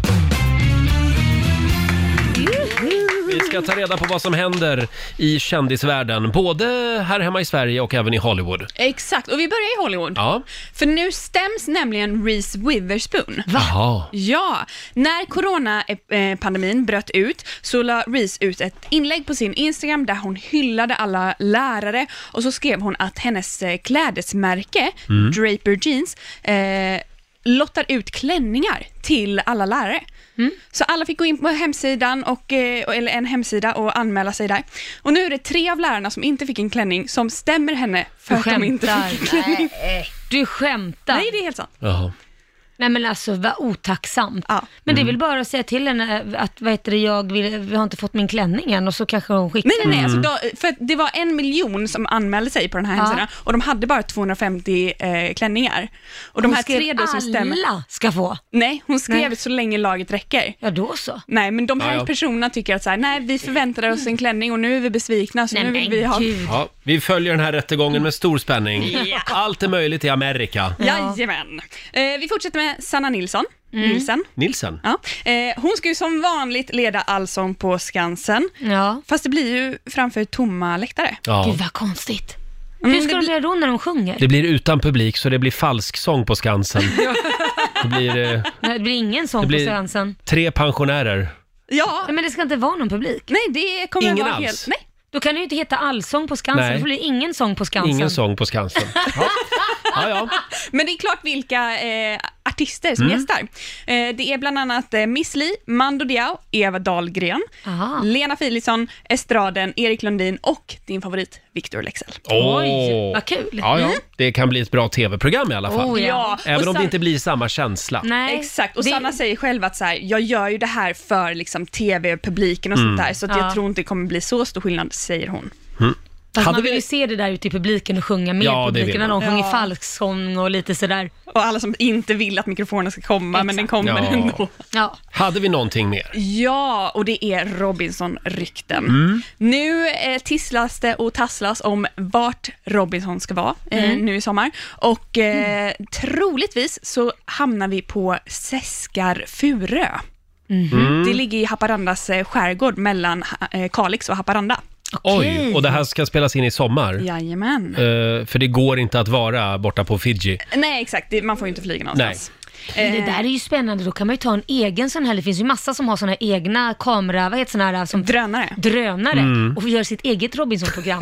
Vi ska ta reda på vad som händer i kändisvärlden, både här hemma i Sverige och även i Hollywood. Exakt, och vi börjar i Hollywood. Ja. För nu stäms nämligen Reese Witherspoon. Jaha. Ja, när coronapandemin eh, bröt ut så la Reese ut ett inlägg på sin Instagram där hon hyllade alla lärare och så skrev hon att hennes eh, klädesmärke, Mm. Draper Jeans, eh, lottar ut klänningar till alla lärare. Så alla fick gå in på hemsidan och, eh, eller en hemsida och anmäla sig där. Och nu är det tre av lärarna som inte fick en klänning som stämmer henne för Du att de inte skämtar. fick en klänning. Nej, du skämtar. Nej, det är helt sant. Jaha. Nej men alltså vad otacksamt. Men det Mm. är väl bara att säga till henne eh, att vad heter det, jag vill, vi har inte fått min klänning än och så kanske hon skickar Nej, nej, nej. den. Alltså, Mm. då, för att det var en miljon som anmälde sig på den här Ja. hemsidan och de hade bara 250 eh, klänningar. Och de Hon här skrev tre då som stämmer... alla ska få. Nej, hon skrev Nej. så länge laget räcker. Ja, då så. Nej, men de här Ja, ja. personerna tycker att så här, nej, vi förväntade oss en klänning och nu är vi besvikna så Nej, nu men vill vi ha... gud. Ja, vi följer den här rättegången med stor spänning. Ja. Allt är möjligt i Amerika. Jajamän. Eh, vi fortsätter med Sanna Nilsson. Nilsen. Nilsen? Ja. Eh, hon ska ju som vanligt leda Allsång på Skansen. Fast det blir ju framför tomma läktare. Ja. Gud, vad konstigt. Mm, Hur ska det de göra då när de sjunger? Det blir utan publik så det blir falsk sång på Skansen. Det blir eh, Nej, det blir ingen sång Det blir- på Skansen. tre pensionärer. Ja. Men det ska inte vara någon publik. Nej, det kommer Ingen vara alls. helt- Nej. Då kan det ju inte heta allsång på Skansen, Nej. då blir det ingen sång på Skansen. Ingen sång på Skansen. Ja, ja. Men det är klart vilka eh, artister som Mm. gästar. Eh, det är bland annat eh, Miss Li, Mando Diao, Eva Dahlgren, Lena Philipsson, Estraden, Erik Lundin och din favorit Victor Lexell. Åh. Ja, ja. Det kan bli ett bra tv-program i alla fall. Oh, ja. Även Och om det sen- inte blir samma känsla. Nej, Exakt, och Sanna säger själv att så här, jag gör ju det här för liksom, tv-publiken och Mm. sånt där, så att Ja. jag tror inte det kommer bli så stor skillnad, säger hon. Mm. Fast Hade man vill ju se det där ute i publiken och sjunga med Ja, det vill publiken när de man. sjunger Ja. falsksång och lite sådär. Och alla som inte vill att mikrofonen ska komma, men den kommer Ja. ändå. Ja. Hade vi någonting mer? Ja, och det är Robinson-rykten. Mm. Nu eh, tisslas det och tasslas om vart Robinson ska vara eh, Mm. nu i sommar. Och eh, troligtvis så hamnar vi på Seskarfurö. Furö. Mhm. Det ligger i Haparandas eh, skärgård mellan ha- eh, Kalix och Haparanda. Oj, och det här ska spelas in i sommar. Jajamän. Eh, för det går inte att vara borta på Fiji. Nej, exakt. Det, man får ju inte flyga någonstans. Men Det där är ju spännande, då kan man ju ta en egen sån här, det finns ju massa som har såna här egna kamera, vad heter såna här som... Drönare. Drönare. Mm. Och gör sitt eget Robinson-program.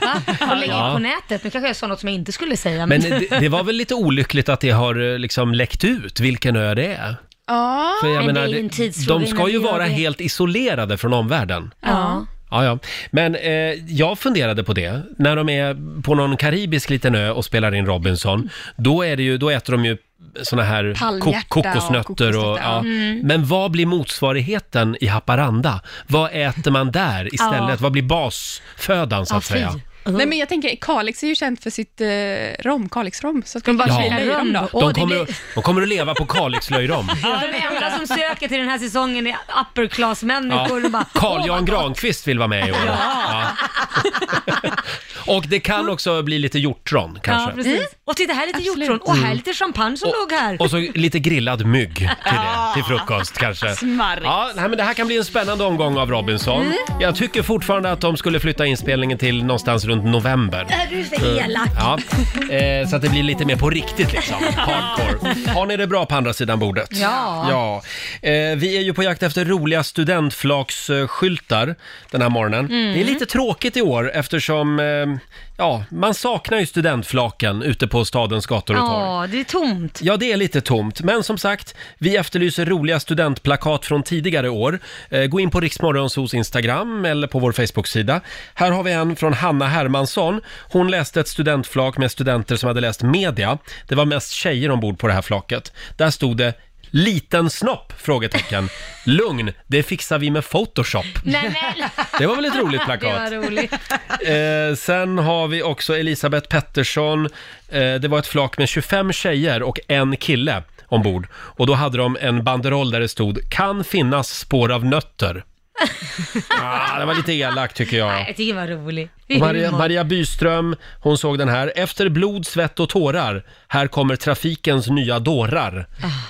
Va? Och lägger Ja. ut på nätet. Nu kanske jag sa något som jag inte skulle säga. Men det, det var väl lite olyckligt att det har eh, liksom läckt ut vilken ö det är? Ja, För jag men menar, det är ju en tidsfråga de ska innan ju vi gör vara det. helt isolerade från omvärlden. Ja. Ja, ja. Men eh, jag funderade på det, när de är på någon karibisk liten ö och spelar in Robinson, då, är det ju, då äter de ju såna här Palmhjärta ko- kokosnötter. Och, och kokosnötter, ja. ja. Mm. Men vad blir motsvarigheten i Haparanda? Vad äter man där istället? Ja. Vad blir basfödan så att säga? Nej, men jag tänker, Kalix är ju känt för sitt eh, rom, Kalixrom, så ska de bara Ja. fila i dem då. De kommer, att- de kommer att leva på Kalixlöjrom. De enda som söker till den här säsongen är upper class-människor. och bara, Carl Jan Granqvist vill vara med i år. Ja. Och det kan också bli lite hjortron kanske. Mm. Mm. Ja, precis. Och titta, här är lite hjortron. Och här är lite champagne som låg här. Och så lite grillad mygg till, det, till frukost kanske. Smarrigt. Ja, nej, men det här kan bli en spännande omgång av Robinson. Mm. Jag tycker fortfarande att de skulle flytta inspelningen till någonstans runt november. Är du för elak? Ja, eh, så att det blir lite mer på riktigt liksom. Hardcore. Har ni det bra på andra sidan bordet? Ja. ja. Eh, vi är ju på jakt efter roliga studentflaksskyltar den här morgonen. Mm. Det är lite tråkigt i år eftersom eh, ja, man saknar ju studentflaken ute på stadens gator och torg. Ja, det är tomt. Ja, det är lite tomt. Men som sagt, vi efterlyser roliga studentplakat från tidigare år. Eh, Gå in på Riksmorgonsos Instagram eller på vår Facebook-sida. Här har vi en från Hanna Hermansson. Hon läste ett studentflak med studenter som hade läst media. Det var mest tjejer ombord på det här flaket. Där stod det Liten snopp? Frågetecken. Lugn, det fixar vi med Photoshop. Nej, men. Det var väl ett roligt plakat? Det var roligt. Eh, sen har vi också Elisabeth Pettersson. Eh, det var ett flak med 25 tjejer och en kille ombord. Och då hade de en banderoll där det stod “Kan finnas spår av nötter”. ah, det var lite elakt tycker jag. Jag tycker det var roligt. Det är Och Maria, humor. Maria Byström, hon såg den här. Efter blod, svett och tårar, här kommer trafikens nya dårar.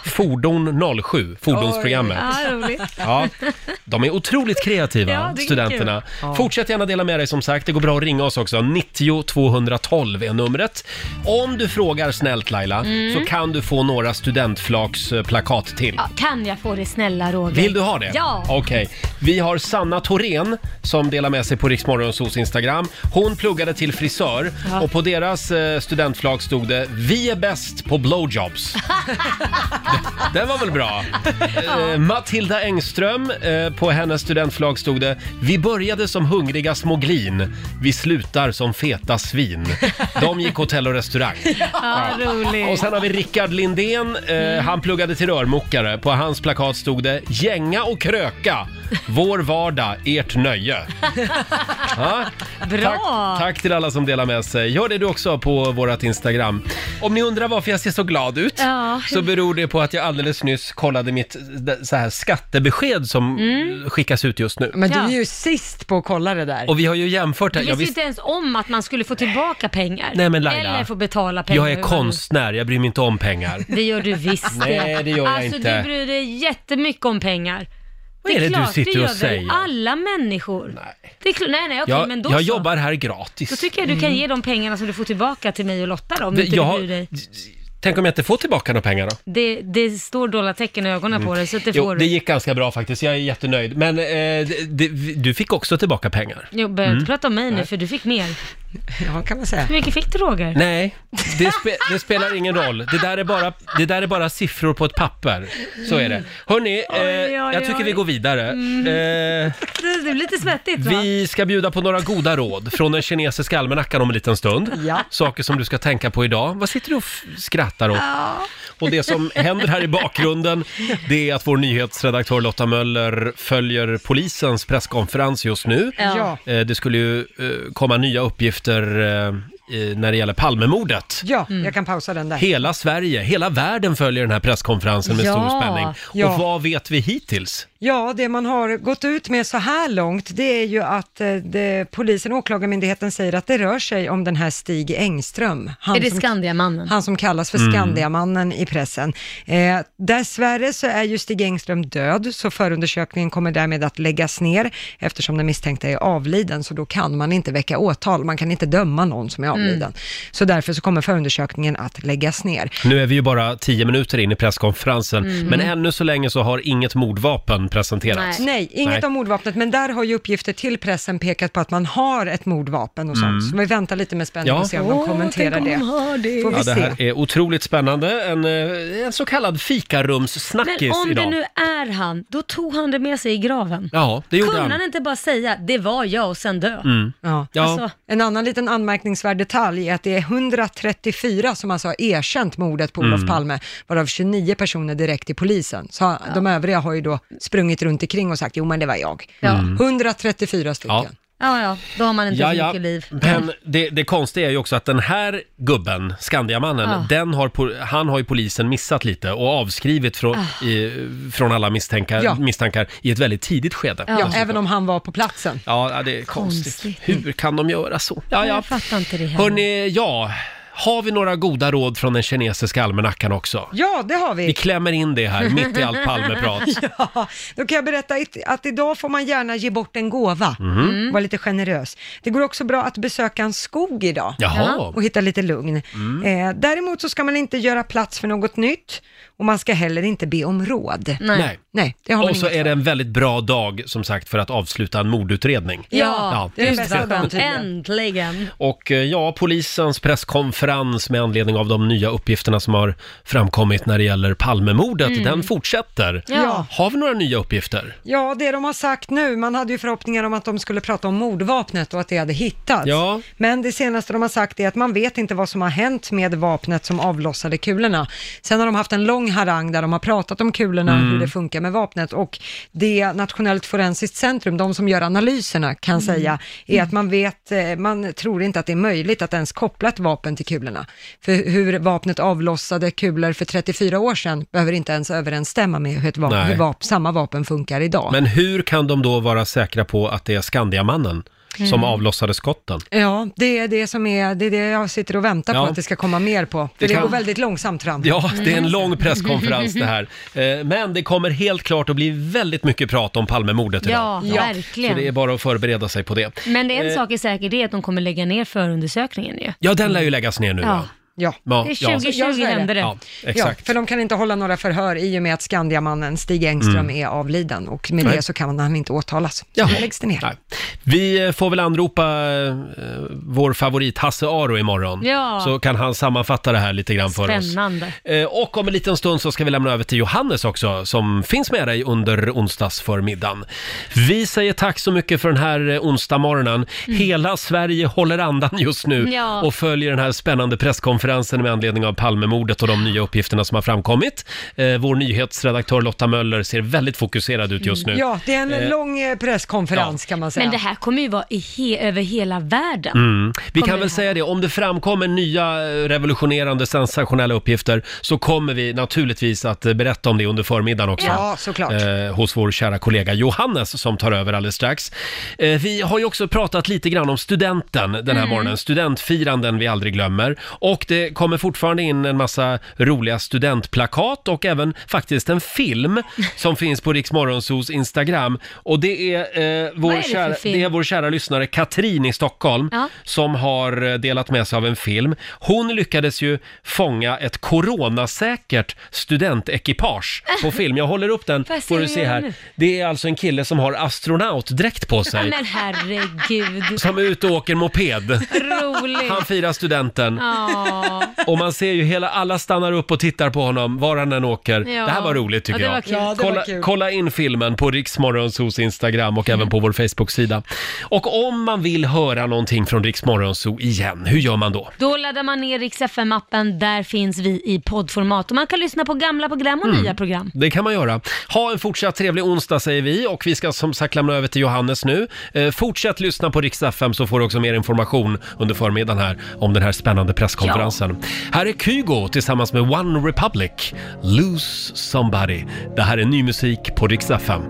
Fordon 07, fordonsprogrammet. Oj. Ja, roligt. Ja, de är otroligt kreativa, Ja, det är studenterna. kul. Ja. Fortsätt gärna dela med dig som sagt. Det går bra att ringa oss också. 90 212 är numret. Om du frågar snällt Laila, Mm. så kan du få några studentflaksplakat till. Ja, kan jag få det snälla Roger? Vill du ha det? Ja. Okej. Vi har Sanna Thorén som delar med sig på Riksmorgonsos Instagram. Hon pluggade till frisör Ja. och på deras eh, studentflagg stod det “Vi är bäst på blowjobs”. Den var väl bra? Eh, Matilda Engström, eh, på hennes studentflagg stod det “Vi började som hungriga små glin, vi slutar som feta svin”. De gick hotell och restaurang. Ja, roligt. Och sen har vi Rickard Lindén. Eh, Mm. Han pluggade till rörmokare. På hans plakat stod det “Gänga och kröka, vår vardag, ert nöje”. Ja. Bra. Tack, tack till alla som delar med sig. Gör det du också på vårt Instagram. Om ni undrar varför jag ser så glad ut Ja. så beror det på att jag alldeles nyss kollade mitt d- så här, skattebesked som Mm. skickas ut just nu. Men du är ju sist på att kolla det där. Och vi har ju jämfört Du det här. Jag visste ju visste- inte ens om att man skulle få tillbaka pengar. Nej, men Laila, Eller få betala pengar. Jag är konstnär, jag bryr mig inte om pengar. Det gör du visst Nej, det gör jag alltså, inte. du bryr dig jättemycket om pengar. Vad är det du klart, sitter gör och väl säger? alla människor. Nej. Det är klart, nej, nej, okej, men då jag så. jobbar här gratis. Då tycker jag du kan ge de pengarna som du får tillbaka till mig och Lotta då, om Det- inte jag- du bryr dig. Tänk om jag inte får tillbaka några pengar då? Det, det står dollartecken i ögonen på dig, så att det Mm. jo, får det du. gick ganska bra faktiskt. Jag är jättenöjd. Men eh, det, det, du fick också tillbaka pengar. Jo, börja inte Mm. prata om mig nu, Nej. för du fick mer. Ja, kan man säga. Hur mycket fick du Roger? Nej, det, spe, det spelar ingen roll. Det där, är bara, det där är bara siffror på ett papper. Så är det. Hörni, eh, oj, jag tycker vi oj. Mm. går vidare. Eh, Det, det blir lite svettigt va? vi ska bjuda på några goda råd från den kinesiska almanackan om en liten stund. Ja. Saker som du ska tänka på idag. Vad sitter du och f- skrattar åt? Och det som händer här i bakgrunden, det är att vår nyhetsredaktör Lotta Möller följer polisens presskonferens just nu. Ja. Eh, Det skulle ju eh, komma nya uppgifter eh, i- när det gäller Palmemordet. Ja, jag kan pausa den där. Hela Sverige, hela världen följer den här presskonferensen med Ja. stor spänning. Ja. Och vad vet vi hittills? Ja, det man har gått ut med så här långt, det är ju att eh, det, polisen och åklagarmyndigheten säger att det rör sig om den här Stig Engström. Är det som- Skandiamannen? Han som kallas för Mm. Skandiamannen i pressen. Eh, dessvärre så är ju Stig Engström död, så förundersökningen kommer därmed att läggas ner, eftersom den misstänkta är avliden, så då kan man inte väcka åtal, man kan inte döma någon som är avliden. Mm. Så därför så kommer förundersökningen att läggas ner. Nu är vi ju bara tio minuter in i presskonferensen, Mm. men ännu så länge så har inget mordvapen presenterats. Nej, inget Nej. om mordvapnet, men där har ju uppgifter till pressen pekat på att man har ett mordvapen och sånt. Mm. Så vi väntar lite med spänning Ja. och ser om de Åh, kommenterar tänk det. om Får vi Ja, det se. här är otroligt spännande. En, eh, en så kallad fikarumssnackis Men om idag. det nu är han, då tog han det med sig i graven. Ja, det gjorde Kunde han. han. inte bara säga, det var jag och sen dö? Mm. Ja. Ja. Alltså, En annan liten anmärkningsvärd detalj är att det är 134 som alltså har erkänt mordet på Olof Mm. Palme, varav 29 personer direkt till polisen. Så de övriga har ju då sprungit runt omkring och sagt, jo men det var jag. Ja. 134 stycken. Ja. ja, ja, då har man inte Mm. Ja, så ja. mycket liv. Men det, det konstiga är ju också att den här gubben, Skandiamannen, Ah. den har, po- han har ju polisen missat lite och avskrivit från, i, från alla misstänkar, Ja. misstankar i ett väldigt tidigt skede. Ja, Dessutom. även om han var på platsen. ja det är konstigt. Konstigt. Hur kan de göra så? Ja, ja. Jag fattar inte det heller. Hörni, ja, har vi några goda råd från den kinesiska almanackan också? Ja, det har vi. Vi klämmer in det här mitt i allt Palmeprat. ja, då kan jag berätta it- att idag får man gärna ge bort en gåva. Mhm. Var lite generös. Det går också bra att besöka en skog idag Jaha. och hitta lite lugn. Mm. Eh, däremot så ska man inte göra plats för något nytt och man ska heller inte be om råd. Nej. Nej det har man och så inget är det en väldigt bra dag, som sagt, för att avsluta en mordutredning. Ja, det är just bästa dagen. Äntligen. Och eh, ja, polisens presskonferens konferens med anledning av de nya uppgifterna som har framkommit när det gäller Palmemordet. Mm. Den fortsätter. Ja. Har vi några nya uppgifter? Ja, det de har sagt nu, man hade ju förhoppningar om att de skulle prata om mordvapnet och att det hade hittats. Ja. Men det senaste de har sagt är att man vet inte vad som har hänt med vapnet som avlossade kulorna. Sen har de haft en lång harang där de har pratat om kulorna, Mm. hur det funkar med vapnet och det Nationellt Forensiskt Centrum, de som gör analyserna kan Mm. säga, är Mm. att man vet, eh, man tror inte att det är möjligt att ens koppla ett vapen till kulorna. För hur vapnet avlossade kulor för 34 år sedan behöver inte ens överensstämma med hur ett vapen, Nej. hur vap- samma vapen funkar idag. Men hur kan de då vara säkra på att det är Skandiamannen som Mm. avlossade skotten? Ja, det är det som är, det är det jag sitter och väntar Ja. på att det ska komma mer på. För Det det, kan- går väldigt långsamt fram. Ja, Mm. det är en lång presskonferens det här. Eh, Men det kommer helt klart att bli väldigt mycket prat om Palmemordet Ja, idag. verkligen. Så det är bara att förbereda sig på det. Men det är en Eh, sak är säker, det är att de kommer lägga ner förundersökningen ju. Ja, den lär ju läggas ner nu. Ja. Ja. Ja, Det är ja. 2020 Ja, så är hände det. Ja, exakt. Ja, för de kan inte hålla några förhör i och med att Skandiamannen Stig Engström Mm. är avliden och med Nej. det så kan han inte åtalas. Så det läggs det ner. Vi eh, får väl anropa eh, vår favorit Hasse Aro imorgon. Ja. Så kan han sammanfatta det här lite grann för oss. Spännande. Eh, Och om en liten stund så ska vi lämna över till Johannes också, som finns med dig under onsdagsförmiddagen. Vi säger tack så mycket för den här eh, onsdagmorgonen. Hela Sverige håller andan just nu Ja. och följer den här spännande presskonferensen med anledning av Palmemordet och de nya uppgifterna som har framkommit. Eh, Vår nyhetsredaktör Lotta Möller ser väldigt fokuserad ut just nu. Mm. Ja, det är en Eh, lång eh, presskonferens kan man säga. Men det här kommer ju vara i he- över hela världen. Mm. Vi Kommer kan väl det säga det, om det framkommer nya eh, revolutionerande, sensationella uppgifter så kommer vi naturligtvis att eh, berätta om det under förmiddagen också. Ja, såklart. Eh, hos vår kära kollega Johannes som tar över alldeles strax. Eh, vi har ju också pratat lite grann om studenten den här Mm. morgonen, studentfiranden vi aldrig glömmer. Och det kommer fortfarande in en massa roliga studentplakat och även faktiskt en film som finns på Rix Morgonzos Instagram. Och det är, eh, vår, Vad är det för kära, film? det är vår kära lyssnare Katrin i Stockholm Ja. som har eh, delat med sig av en film. Hon lyckades ju fånga ett coronasäkert studentekipage på film. Jag håller upp den, Får jag se får du hur se jag gör här. nu? Det är alltså en kille som har astronautdräkt på Ja, sig. men herregud. Som är ute och åker moped. Roligt. Han firar studenten. Ja. Och man ser ju hela, alla stannar upp och tittar på honom var han än åker. Ja. Det här var roligt tycker Ja, det var jag. kul. Ja, det var kolla, kul. kolla in filmen på Riksmorgonsos Instagram och även på vår Facebook-sida. Och om man vill höra någonting från Riksmorgonso igen, hur gör man då? Då laddar man ner Rix FM-appen, där finns vi i poddformat och man kan lyssna på gamla program och Mm. nya program. Det kan man göra. Ha en fortsatt trevlig onsdag säger vi och vi ska som sagt lämna över till Johannes nu. Eh, fortsätt lyssna på Rix FM så får du också mer information under förmiddagen här om den här spännande presskonferensen. Här är Kygo tillsammans med One Republic, Lose Somebody. Det här är ny musik på Rix FM.